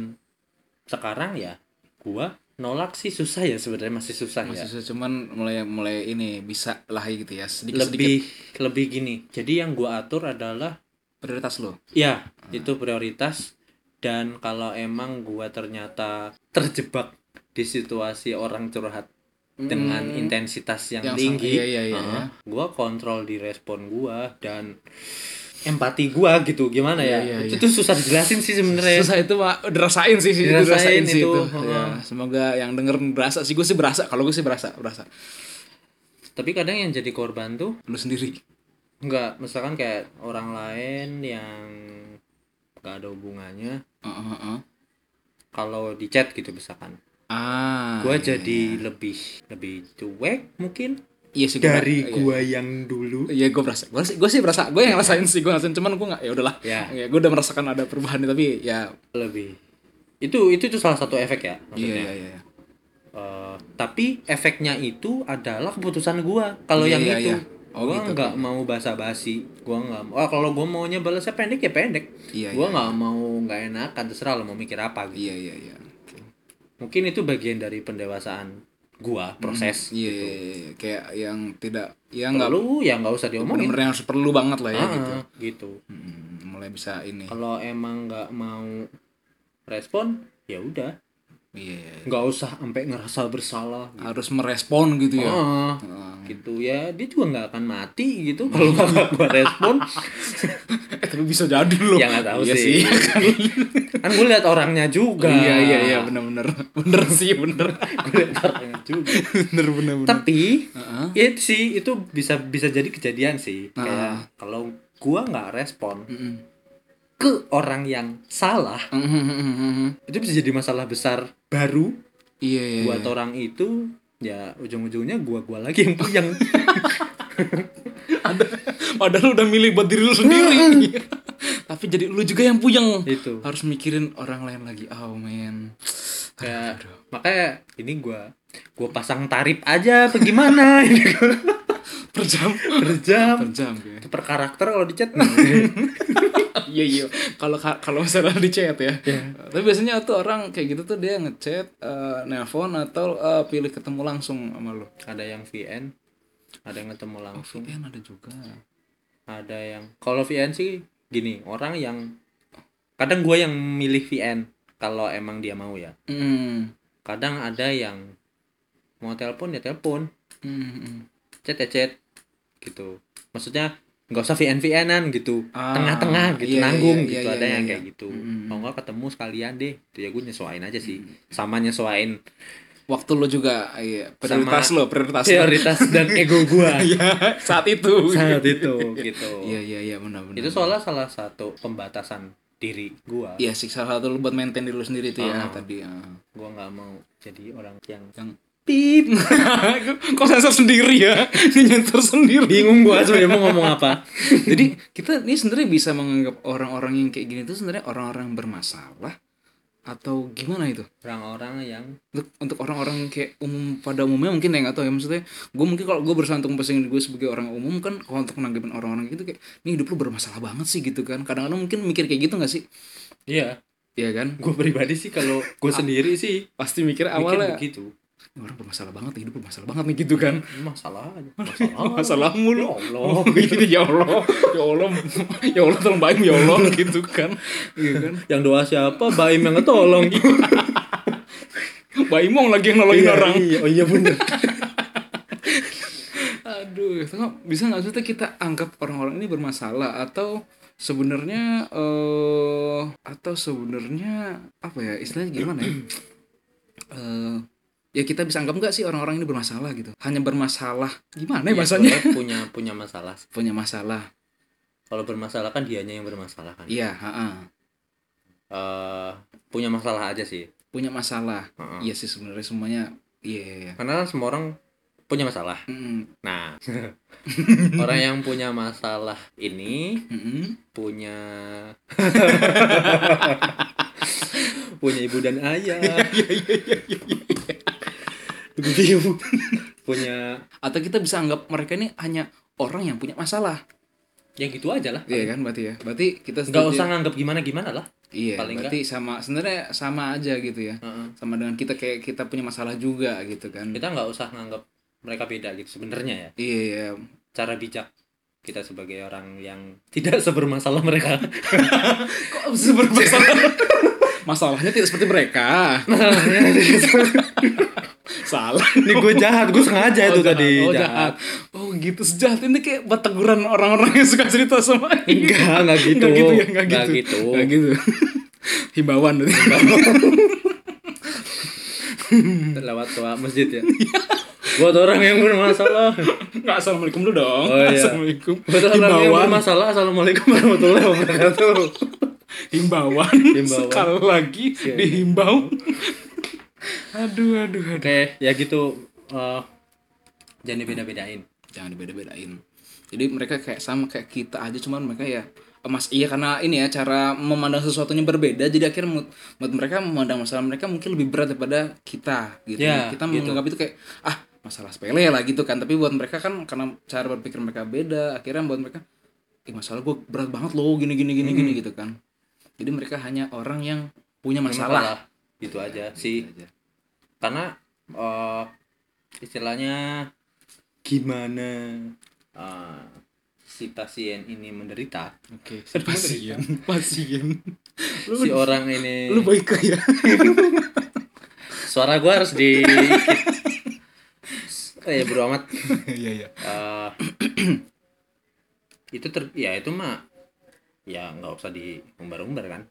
sekarang ya gua nolak sih susah ya sebenarnya masih susah masih ya susah, cuman mulai mulai ini bisa lah gitu ya sedikit sedikit lebih lebih gini jadi yang gua atur adalah prioritas lo ya itu prioritas dan kalau emang gua ternyata terjebak di situasi orang curhat dengan intensitas yang, Hmm. Yang sang- tinggi iya, iya, iya, uh-uh, iya. gua kontrol di respon gua dan empati gua gitu gimana ya Iya, iya, itu tuh susah dijelasin sih sebenarnya susah itu mah dirasain sih sih Dirasain dirasain sih itu, itu, heeh. Ya, semoga yang denger berasa sih gue sih berasa kalau gue sih berasa berasa tapi kadang yang jadi korban tuh lu sendiri Enggak, misalkan kayak orang lain yang gak ada hubungannya Heeh, heeh. kalau di chat gitu misalkan. ah Gua iya, jadi iya. lebih lebih cuek mungkin iya sih gua- dari iya. gua yang dulu. Iya gue berasa, gue sih gue sih berasa, gue yang rasain sih gue ngerasain cuman gue nggak ya udahlah, Ya. ya gue udah merasakan ada perubahan tapi ya Lebih. Itu itu tuh salah satu efek ya iya maksudnya. iya iya Eh, tapi efeknya itu adalah keputusan gua kalau Iya, yang iya, itu. iya. Oh, gua gitu. nggak mau basa-basi. Gua nggak mau. Oh, kalau gua maunya balasnya pendek ya pendek. Iya, iya, gua nggak mau nggak enakan terserah lo mau mikir apa gitu. iya iya iya mungkin itu bagian dari pendewasaan gua proses iya iya, iya, iya. kayak yang tidak ya nggak Gitu. Perlu ya nggak usah diomongin bener-bener yang harus perlu banget lah ya Ah, gitu gitu. Mm, mulai bisa ini kalau emang nggak mau respon ya udah iya iya, iya. nggak usah sampai ngerasa bersalah gitu. harus merespon gitu ya Ah, Ah. gitu ya dia juga nggak akan mati gitu kalau nggak gua respon Eh, tapi bisa jadi loh ya nggak tahu Iya sih, kan gue lihat orangnya juga iya iya iya bener-bener bener sih bener Gua lihat orangnya juga bener bener bener tapi Heeh. itu sih itu bisa bisa jadi kejadian sih kayak kalau gua nggak respon Mm-mm. ke orang yang salah Mhm, itu bisa jadi masalah besar baru Iya, iya. buat orang itu ya ujung-ujungnya gua-gua lagi yang yang Padahal udah milih buat diri lu sendiri. Iya. Tapi jadi lu juga yang puyeng. Itu. mhm. Harus mikirin orang lain lagi. Oh man. kayak makanya ini gua gua pasang tarif aja apa gimana Ini gua Per jam. per jam Per jam ya. per karakter kalau di chat Iya iya. Kalau kalau misalnya di chat ya. Tapi biasanya tuh orang kayak gitu tuh dia ngechat, eh, nelpon atau eh, pilih ketemu langsung sama lu. ada yang VN ada yang ketemu langsung VN ada juga. ada yang kalau VN sih gini orang yang kadang gua yang milih VN kalau emang dia mau ya Hmm. kadang ada yang mau telepon ya telepon Hmm, hmm. chat ya chat gitu maksudnya nggak usah VN VNan gitu Ah, tengah-tengah gitu iya, nanggung iya, gitu iya, ada iya, yang iya. kayak gitu Mm-mm. kalau nggak ketemu sekalian deh itu ya gue nyesuain aja sih Mm-hmm. sama nyesuain Waktu lu juga iya, prioritas lu, prioritas lu. prioritas dan ego gua Iya, saat itu. saat itu gitu Iya iya iya benar benar. itu soalnya salah satu pembatasan diri gua Iya sih salah satu lu buat maintain diri lu sendiri itu ya Ah. tadi. ah. gua nggak mau jadi orang yang Yang- pip Kok sensor sendiri ya? Ini sensor sendiri. bingung gua sebenarnya mau ngomong apa Jadi kita ini sebenarnya bisa menganggap orang-orang yang kayak gini itu sebenarnya orang-orang bermasalah atau gimana itu? orang-orang yang Untuk, untuk orang-orang yang kayak umum pada umumnya mungkin ya nggak tahu ya maksudnya gue mungkin kalau gue bersantung pesing gue sebagai orang umum kan kalau untuk menanggapin orang-orang gitu kayak ini hidup lu bermasalah banget sih gitu kan kadang-kadang mungkin mikir kayak gitu nggak sih iya Iya kan gua pribadi sih kalau gua sendiri sih pasti mikir mikir awalnya begitu "Ini orang bermasalah banget hidup bermasalah banget nih gitu kan masalah aja. masalah masalah mulu ya Allah Oh, gitu ya Allah, ya Allah, ya Allah tolong baik ya Allah gitu kan, gitu kan. yang doa siapa Baim yang ngetolong Baimong lagi yang nolongin orang. Iya, iya, oh iya bener Aduh, itu nggak- bisa nggak sih tuh kita anggap orang-orang ini bermasalah atau sebenarnya eh atau sebenarnya apa ya istilahnya gimana ya? Eh, ya kita bisa anggap nggak sih orang-orang ini bermasalah gitu? Hanya bermasalah gimana ya Eh, bahasanya? Iya, soalnya punya punya masalah Punya masalah. kalau bermasalah kan dianya yang bermasalah kan Iya, ha-ha. Eh, punya masalah aja sih punya masalah. Heeh. Iya sih sebenarnya semuanya. Iya. iya, iya. karena kan semua orang punya masalah Mm, nah orang yang punya masalah ini mm, mm. punya punya ibu dan ayah iya, Ibu- ibu. iya. punya Atau kita bisa anggap mereka ini hanya orang yang punya masalah. ya gitu aja lah Iya kan berarti ya. Berarti kita nggak setuju- usah nganggap gimana gimana lah Iya, paling berarti sama sebenarnya sama aja gitu ya. Heeh. Sama dengan kita kayak kita punya masalah juga gitu kan. kita nggak usah nganggap mereka beda gitu sebenarnya ya Iya, iya. cara bijak kita sebagai orang yang tidak sebermasalah mereka Kok bermasalah? Masalahnya tidak seperti mereka. Salah. ini gue jahat gue sengaja Oh, jahat. Oh, jahat. Oh, gitu sejahat ini kayak bataguran orang-orang yang suka cerita sama. enggak enggak gitu Nggak gitu ya, enggak gitu. Nggak gitu. Nggak gitu. Himbauan berarti. Hmm. lewat tua masjid ya buat orang yang bermasalah Nggak, assalamualaikum dulu dong. Oh, iya. Assalamualaikum. buat orang yang Himbauan. bermasalah assalamualaikum warahmatullahi wabarakatuh Himbauan. Himbauan. Sekali lagi Iya. dihimbau. aduh, aduh, aduh. oke ya gitu Eh, jangan beda-bedain jangan dibeda-bedain jadi mereka kayak sama kayak kita aja cuman mereka ya emas iya karena ini ya cara memandang sesuatunya berbeda jadi akhirnya mood, mood mereka memandang masalah mereka mungkin lebih berat daripada kita gitu Ya, kita gitu. menganggap itu kayak ah masalah sepele lah gitu kan tapi buat mereka kan karena cara berpikir mereka beda akhirnya buat mereka Ih, masalah gue berat banget loh gini gini gini gini gitu kan jadi mereka hanya orang yang punya masalah, gitu aja sih Gitu aja. karena eh istilahnya gimana eh, si pasien ini menderita oke pasien pasien si orang ini lu baik ya suara gua harus di eh bro amat iya iya Eh, itu ter ya itu mah ya nggak usah diumbar-umbar kan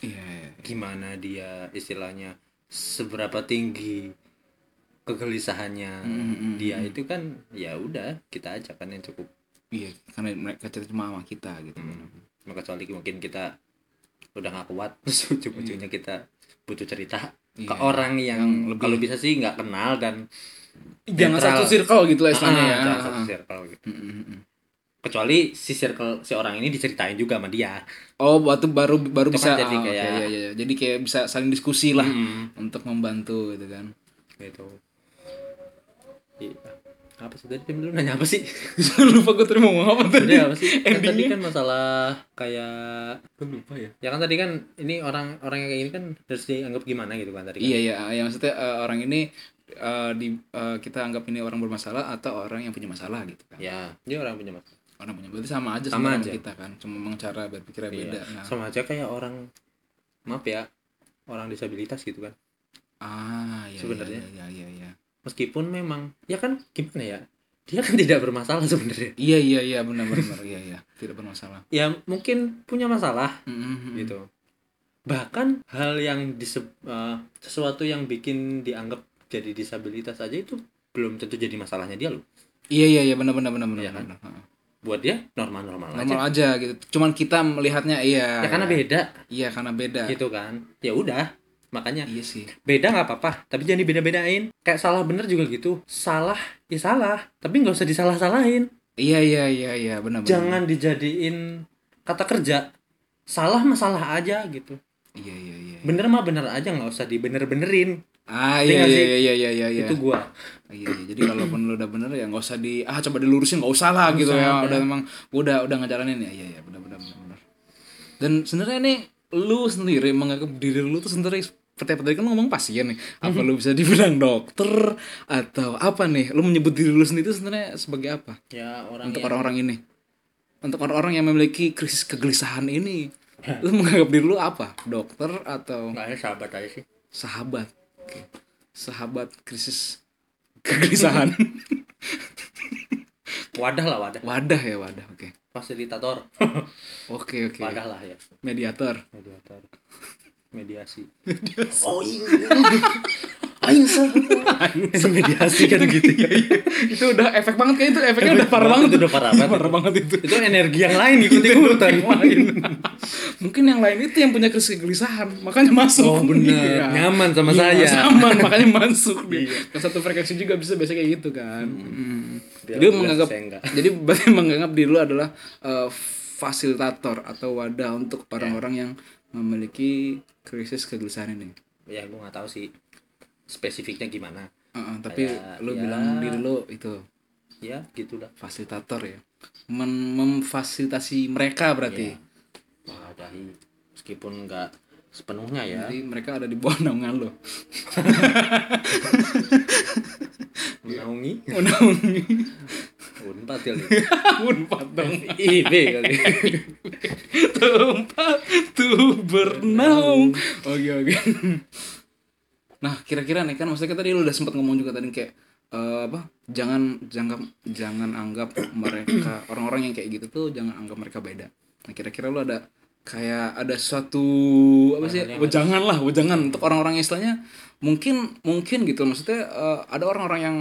iya iya. gimana dia istilahnya seberapa tinggi kegelisahannya dia itu kan ya udah kita aja kan yang cukup Iya, karena mereka cerita cuma sama kita gitu. cuma kecuali mungkin kita udah nggak kuat terus ujung-ujungnya kita butuh cerita ke Iya. orang yang, Yang lebih- kalau bisa sih nggak kenal dan jangan netral. satu circle gitu lah istilahnya Ah, ya jangan satu circle gitu. Mm, mm, mm. kecuali si circle si orang ini diceritain juga sama dia oh waktu baru baru Itu bisa kan jadi ah, oke, kayak- iya, iya, iya. jadi kayak bisa saling diskusi lah Mm, untuk membantu gitu kan gitu Iya. apa sih tadi Tim? lu nanya apa sih lupa gue terima mau apa tadi Tadi apa sih? Kan tadi endingnya kan masalah kayak lupa ya. Ya kan tadi kan ini orang orang yang kayak gini kan harus dianggap gimana gitu kan tadi kan. Iya iya, ya maksudnya eh, orang ini eh, di eh, kita anggap ini orang bermasalah atau orang yang punya masalah gitu kan. Ya, dia orang punya masalah. Orang punya berarti sama aja Sama sama, orang aja. kita kan. Cuma memang cara berpikirnya Iya. beda. Nah, Sama aja kayak orang maaf ya, orang disabilitas gitu kan. ah iya, Sebenarnya. Iya iya iya. Meskipun memang ya kan gimana ya? Dia kan tidak bermasalah sebenarnya. Iya iya iya benar benar iya iya tidak bermasalah. Ya mungkin punya masalah Mm, mm, mm. gitu. Bahkan hal yang dise- eh, sesuatu yang bikin dianggap jadi disabilitas aja itu belum tentu jadi masalahnya dia loh. Iya iya iya benar benar benar benar. Iya kan? benar. Heeh. Buat dia normal-normal aja. Normal aja gitu. Cuman kita melihatnya iya. ya karena iya. beda Iya karena beda. gitu kan ya udah makanya Iya sih. beda nggak apa-apa tapi jangan dibeda-bedain kayak salah bener juga gitu salah ya salah tapi nggak usah disalah-salahin Iya iya iya iya benar benar. jangan dijadiin kata kerja salah masalah aja gitu Iya iya iya. bener mah bener aja nggak usah dibener-benerin Ah iya Iya nggak iya sih? iya iya iya. iya. itu gua Iya, iya. jadi kalaupun lu udah bener ya nggak usah di ah coba dilurusin nggak usah lah Nggak gitu usah, ya. udah. Udah memang udah udah ngejalanin ya. Iya iya benar benar benar. benar. Dan sebenarnya nih lu sendiri menganggap diri lu tuh sendiri seperti apa tadi kan lu ngomong pasien nih. Apa Mhm. lu bisa dibilang dokter atau apa nih? Lu menyebut diri lu sendiri itu sebenarnya sebagai apa? ya orang Untuk yang- orang-orang ini. Untuk orang-orang yang memiliki krisis kegelisahan ini. lu menganggap diri lu apa? Dokter atau nggak ada sahabat aja sih sahabat Oke. sahabat krisis kegelisahan wadah lah wadah wadah ya wadah oke fasilitator oke oke wadah lah ya mediator mediator mediasi Oh, iya. mediasi kan gitu ya itu udah efek banget kayak itu efeknya udah parah banget itu udah parah banget parah banget itu itu kan energi yang lain ikut ikutan mungkin yang lain itu yang punya krisis kegelisahan makanya masuk Oh, bener. Iya. Nyaman sama Iya, saya. nyaman makanya masuk dia Yang satu frekuensi juga bisa biasa kayak gitu kan Mm. Biar jadi jelas, menganggap saya enggak. jadi berarti menganggap diri lu adalah eh, fasilitator atau wadah untuk orang-orang yang memiliki krisis kegelisahan ini ya gue nggak tahu sih spesifiknya gimana Heeh, tapi Kayak, lu ya. bilang diri lu itu ya gitulah fasilitator ya Men- memfasilitasi mereka berarti wadahi meskipun nggak sepenuhnya ya jadi mereka ada di bawah naungan lo menaungi naungi unpad kali unpad dong IB kali tempat tuh bernaung. Oke oke. Nah kira-kira nih kan maksudnya tadi lu udah sempat ngomong juga tadi kayak eh, apa? Jangan jangan jangan anggap mereka orang-orang yang kayak gitu tuh jangan anggap mereka beda. Nah kira-kira lu ada kayak ada suatu apa sih? Pandangan. Wejangan lah, wejangan untuk orang-orang yang istilahnya mungkin mungkin gitu maksudnya eh, ada orang-orang yang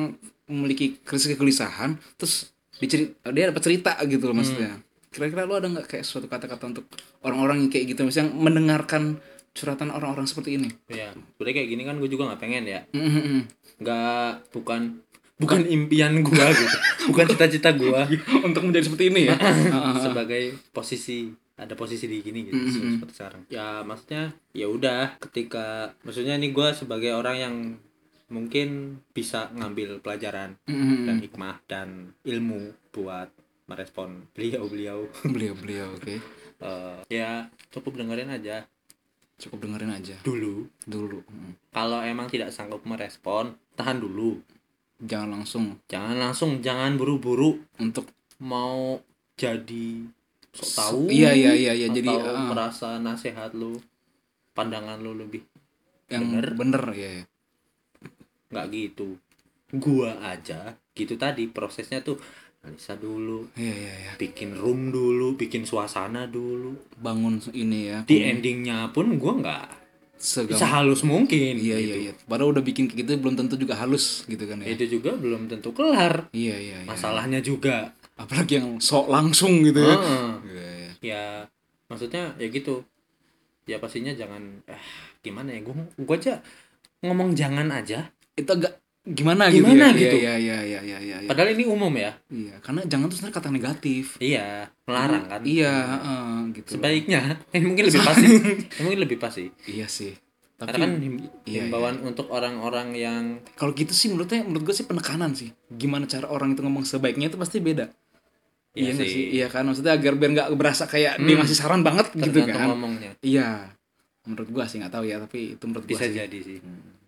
memiliki krisis kegelisahan terus dicerit dia dapat cerita gitu loh maksudnya kira-kira lu ada nggak kayak suatu kata-kata untuk orang-orang yang kayak gitu misalnya yang mendengarkan curhatan orang-orang seperti ini ya sebenarnya kayak gini kan gue juga nggak pengen ya Mhm. nggak bukan bukan impian gue gitu bukan cita-cita gue untuk menjadi seperti ini ya sebagai posisi ada posisi di gini gitu Mhm. seperti sekarang ya maksudnya ya udah ketika maksudnya ini gue sebagai orang yang mungkin bisa ngambil pelajaran dan Mhm. hikmah dan ilmu buat merespon beliau-beliau beliau beliau oke Eh, ya cukup dengerin aja cukup dengerin aja dulu dulu Mhm. kalau emang tidak sanggup merespon tahan dulu jangan langsung jangan langsung jangan buru-buru untuk mau jadi sok tahu iya iya iya iya jadi atau ah, merasa nasehat lu pandangan lu lebih yang bener. bener, bener ya ya. nggak gitu gua aja gitu tadi prosesnya tuh analisa dulu iya iya iya bikin room dulu bikin suasana dulu bangun ini ya di endingnya pun gua nggak segala sehalus mungkin gitu. iya iya iya padahal udah bikin kayak gitu belum tentu juga halus gitu kan ya itu juga belum tentu kelar iya iya iya masalahnya juga apalagi yang sok langsung gitu ya Heeh. Iya, iya. ya maksudnya ya gitu ya pastinya jangan eh, gimana ya gua gua aja ngomong jangan aja itu agak gimana, Gimana gitu ya? gitu? Iya, iya, iya, iya, iya, iya. padahal ini umum ya Iya, karena jangan tuh sebenarnya kata negatif. iya melarang kan Iya, heeh, gitu. loh. sebaiknya eh, mungkin lebih pasti mungkin lebih pasti Iya sih. Tapi karena kan him- iya, himbauan untuk orang-orang yang kalau gitu sih menurutnya menurut gue sih penekanan sih. Gimana cara orang itu ngomong sebaiknya itu pasti beda. Iya nggak sih. Hmm. Iya kan maksudnya agar biar nggak berasa kayak dia ngasih saran banget gitu tergantung kan. ngomongnya Iya. Menurut gua sih nggak tahu ya, tapi itu menurut gua bisa sih. jadi sih Hmm.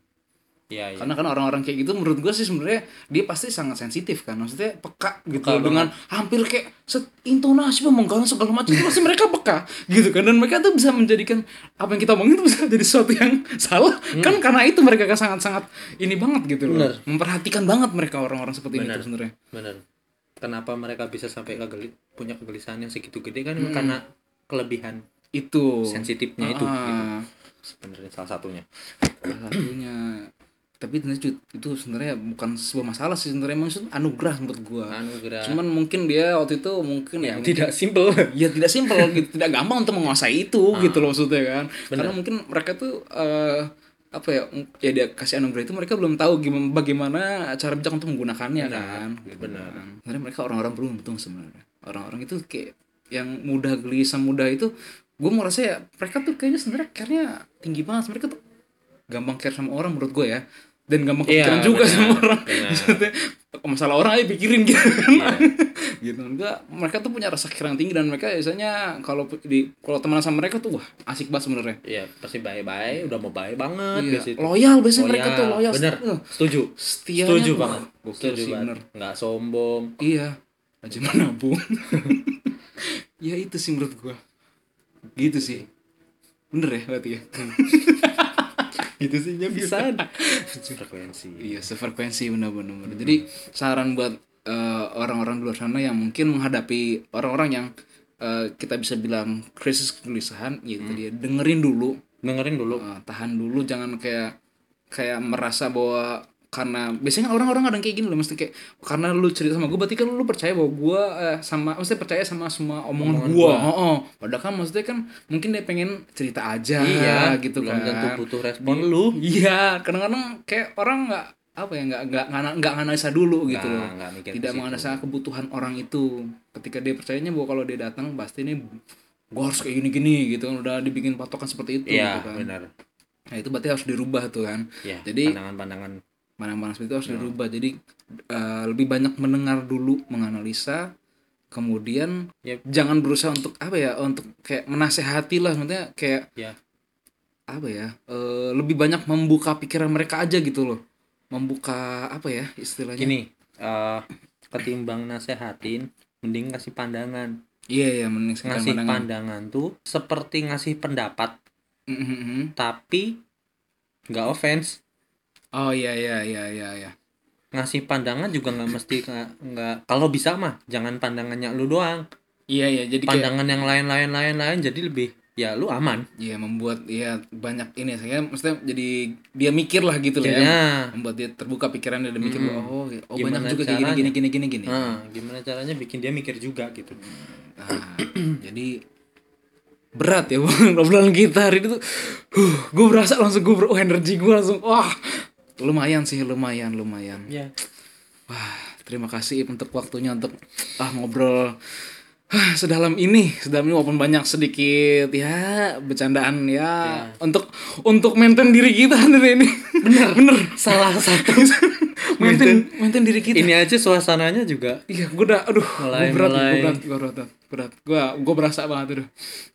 iya iya Karena kan orang-orang kayak gitu menurut gue sih sebenarnya dia pasti sangat sensitif kan. Maksudnya peka gitu Peka dengan hampir kayak set intonasi pemenggalan segala macam itu pasti mereka peka gitu kan dan mereka tuh bisa menjadikan apa yang kita omongin itu bisa jadi sesuatu yang salah Hmm. kan karena itu mereka kan sangat-sangat ini banget gitu loh. Bener. Memperhatikan banget mereka orang-orang seperti ini Bener. tuh sebenarnya. bener kenapa mereka bisa sampai kegeli punya kegelisahan yang segitu gede kan karena kelebihan Itu sensitifnya itu Ah, gitu. sebenarnya salah satunya salah satunya. Tapi sebenarnya Cut, itu sebenarnya bukan sebuah masalah sih sebenarnya emang itu anugerah menurut gua. anugerah Cuman mungkin dia waktu itu mungkin ya mungkin- tidak simpel ya tidak simpel gitu tidak gampang untuk menguasai itu Ah. gitu loh maksudnya kan karena mungkin mereka tuh eh, apa ya m- ya dia kasih anugerah itu mereka belum tahu gimana bagaimana cara bijak untuk menggunakannya kan gitu benar. kan. sebenarnya mereka orang-orang beruntung sebenarnya orang-orang itu kayak yang mudah gelisah mudah itu gue merasa ya mereka tuh kayaknya sebenarnya care-nya tinggi banget mereka tuh gampang care sama orang menurut gue ya dan gampang Iya, kepikiran juga benar, sama orang benar. Iya. Maksudnya, masalah orang aja pikirin gitu kan gitu enggak mereka tuh punya rasa keren tinggi dan mereka biasanya kalau pu- di kalau teman sama mereka tuh wah asik banget sebenarnya iya pasti bye-bye udah mau bye banget Iya, biasanya itu. loyal biasanya mereka tuh loyal bener Eh, setuju setia setuju banget gokil setuju sih, banget bener. nggak sombong iya aja menabung ya itu sih menurut gua gitu sih bener ya berarti ya gitu sih ya Hmm. bisa frekuensi Iya, sefrekuensi benar-benar. benar. Jadi saran buat eh, orang-orang di luar sana yang mungkin menghadapi orang-orang yang eh, kita bisa bilang krisis kegelisahan, ya Mm. itu dia dengerin dulu, dengerin dulu eh, tahan dulu, jangan kayak kayak merasa bahwa karena biasanya kan orang-orang kadang kayak gini loh, mesti kayak karena lu cerita sama gue, berarti kan lu percaya bahwa gue sama, mesti percaya sama semua omongan, Omongan gue. gua. Oh, padahal kan maksudnya kan mungkin dia pengen cerita aja, iya gitu belum kan. tentu butuh respon lu Iya, kadang-kadang kayak orang nggak apa ya nggak nggak ngana- nggak analisa dulu gitu Nah, loh. nggak mikir ke Tidak situ. menganalisa kebutuhan orang itu. Ketika dia percayanya bahwa kalau dia datang pasti ini gue harus kayak gini-gini gitu kan udah dibikin patokan seperti itu iya gitu kan. benar Nah, itu berarti harus dirubah tuh kan. iya Jadi- pandangan-pandangan Mana-mana seperti itu Ya. harus dirubah. Jadi eh, lebih banyak mendengar dulu, menganalisa kemudian Yep. jangan berusaha untuk apa ya untuk kayak menasehati lah maksudnya kayak ya apa ya eh, lebih banyak membuka pikiran mereka aja gitu loh membuka apa ya istilahnya gini eh, ketimbang nasehatin mending ngasih pandangan iya iya mending sekitar ngasih pandangan. pandangan. tuh seperti ngasih pendapat Mm, mm, mm. tapi nggak offense oh iya iya iya iya iya ngasih pandangan juga nggak mesti nggak nggak- kalau bisa mah jangan pandangannya lu doang iya iya jadi kayak pandangan yang lain lain lain lain jadi lebih ya lu aman iya membuat iya banyak ini saya maksudnya jadi dia mikir lah gitu loh ya jadinya membuat dia terbuka pikirannya dan mikir bahwa, oh oh Gimana banyak juga kayak gini gini caranya? gini gini gini eh, gimana caranya bikin dia mikir juga gitu Nah, jadi berat ya Bang, obrolan kita hari ini tuh huh, gue berasa langsung gue ber oh, energi gue langsung wah lumayan sih lumayan lumayan ya Wah, terima kasih Ip, untuk waktunya untuk ah ngobrol ah, sedalam ini, sedalam ini walaupun banyak sedikit ya bercandaan ya, untuk untuk maintain diri kita hari ini. Bener, bener. salah satu maintain maintain diri kita. ini aja suasananya juga Iya, gue udah, aduh, Mulai- gue berat, mulai. gue berat, gue berat, gue berat, gue gue berasa banget aduh.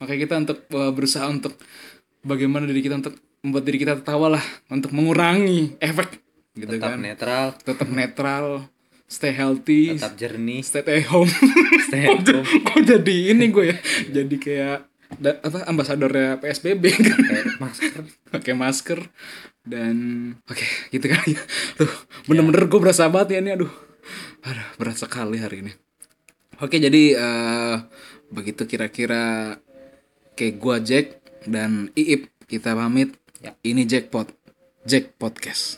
Makanya kita untuk uh, berusaha untuk bagaimana diri kita untuk membuat diri kita tertawa lah, untuk mengurangi efek, gitu tetap kan. netral Tetap netral, stay healthy, tetap jernih stay at home. stay at Kok home j- kok jadi ini gue ya? jadi kayak da- apa ambasadornya PSBB kan? pakai masker pakai masker dan oke gitu kali ya. Tuh, bener-bener gue berasa banget ya ini aduh. Aduh, berat sekali hari ini. Oke, jadi eh, begitu kira-kira kayak gua Jack dan Iip kita pamit. Ya. Ini Jackpot, Jack Podcast.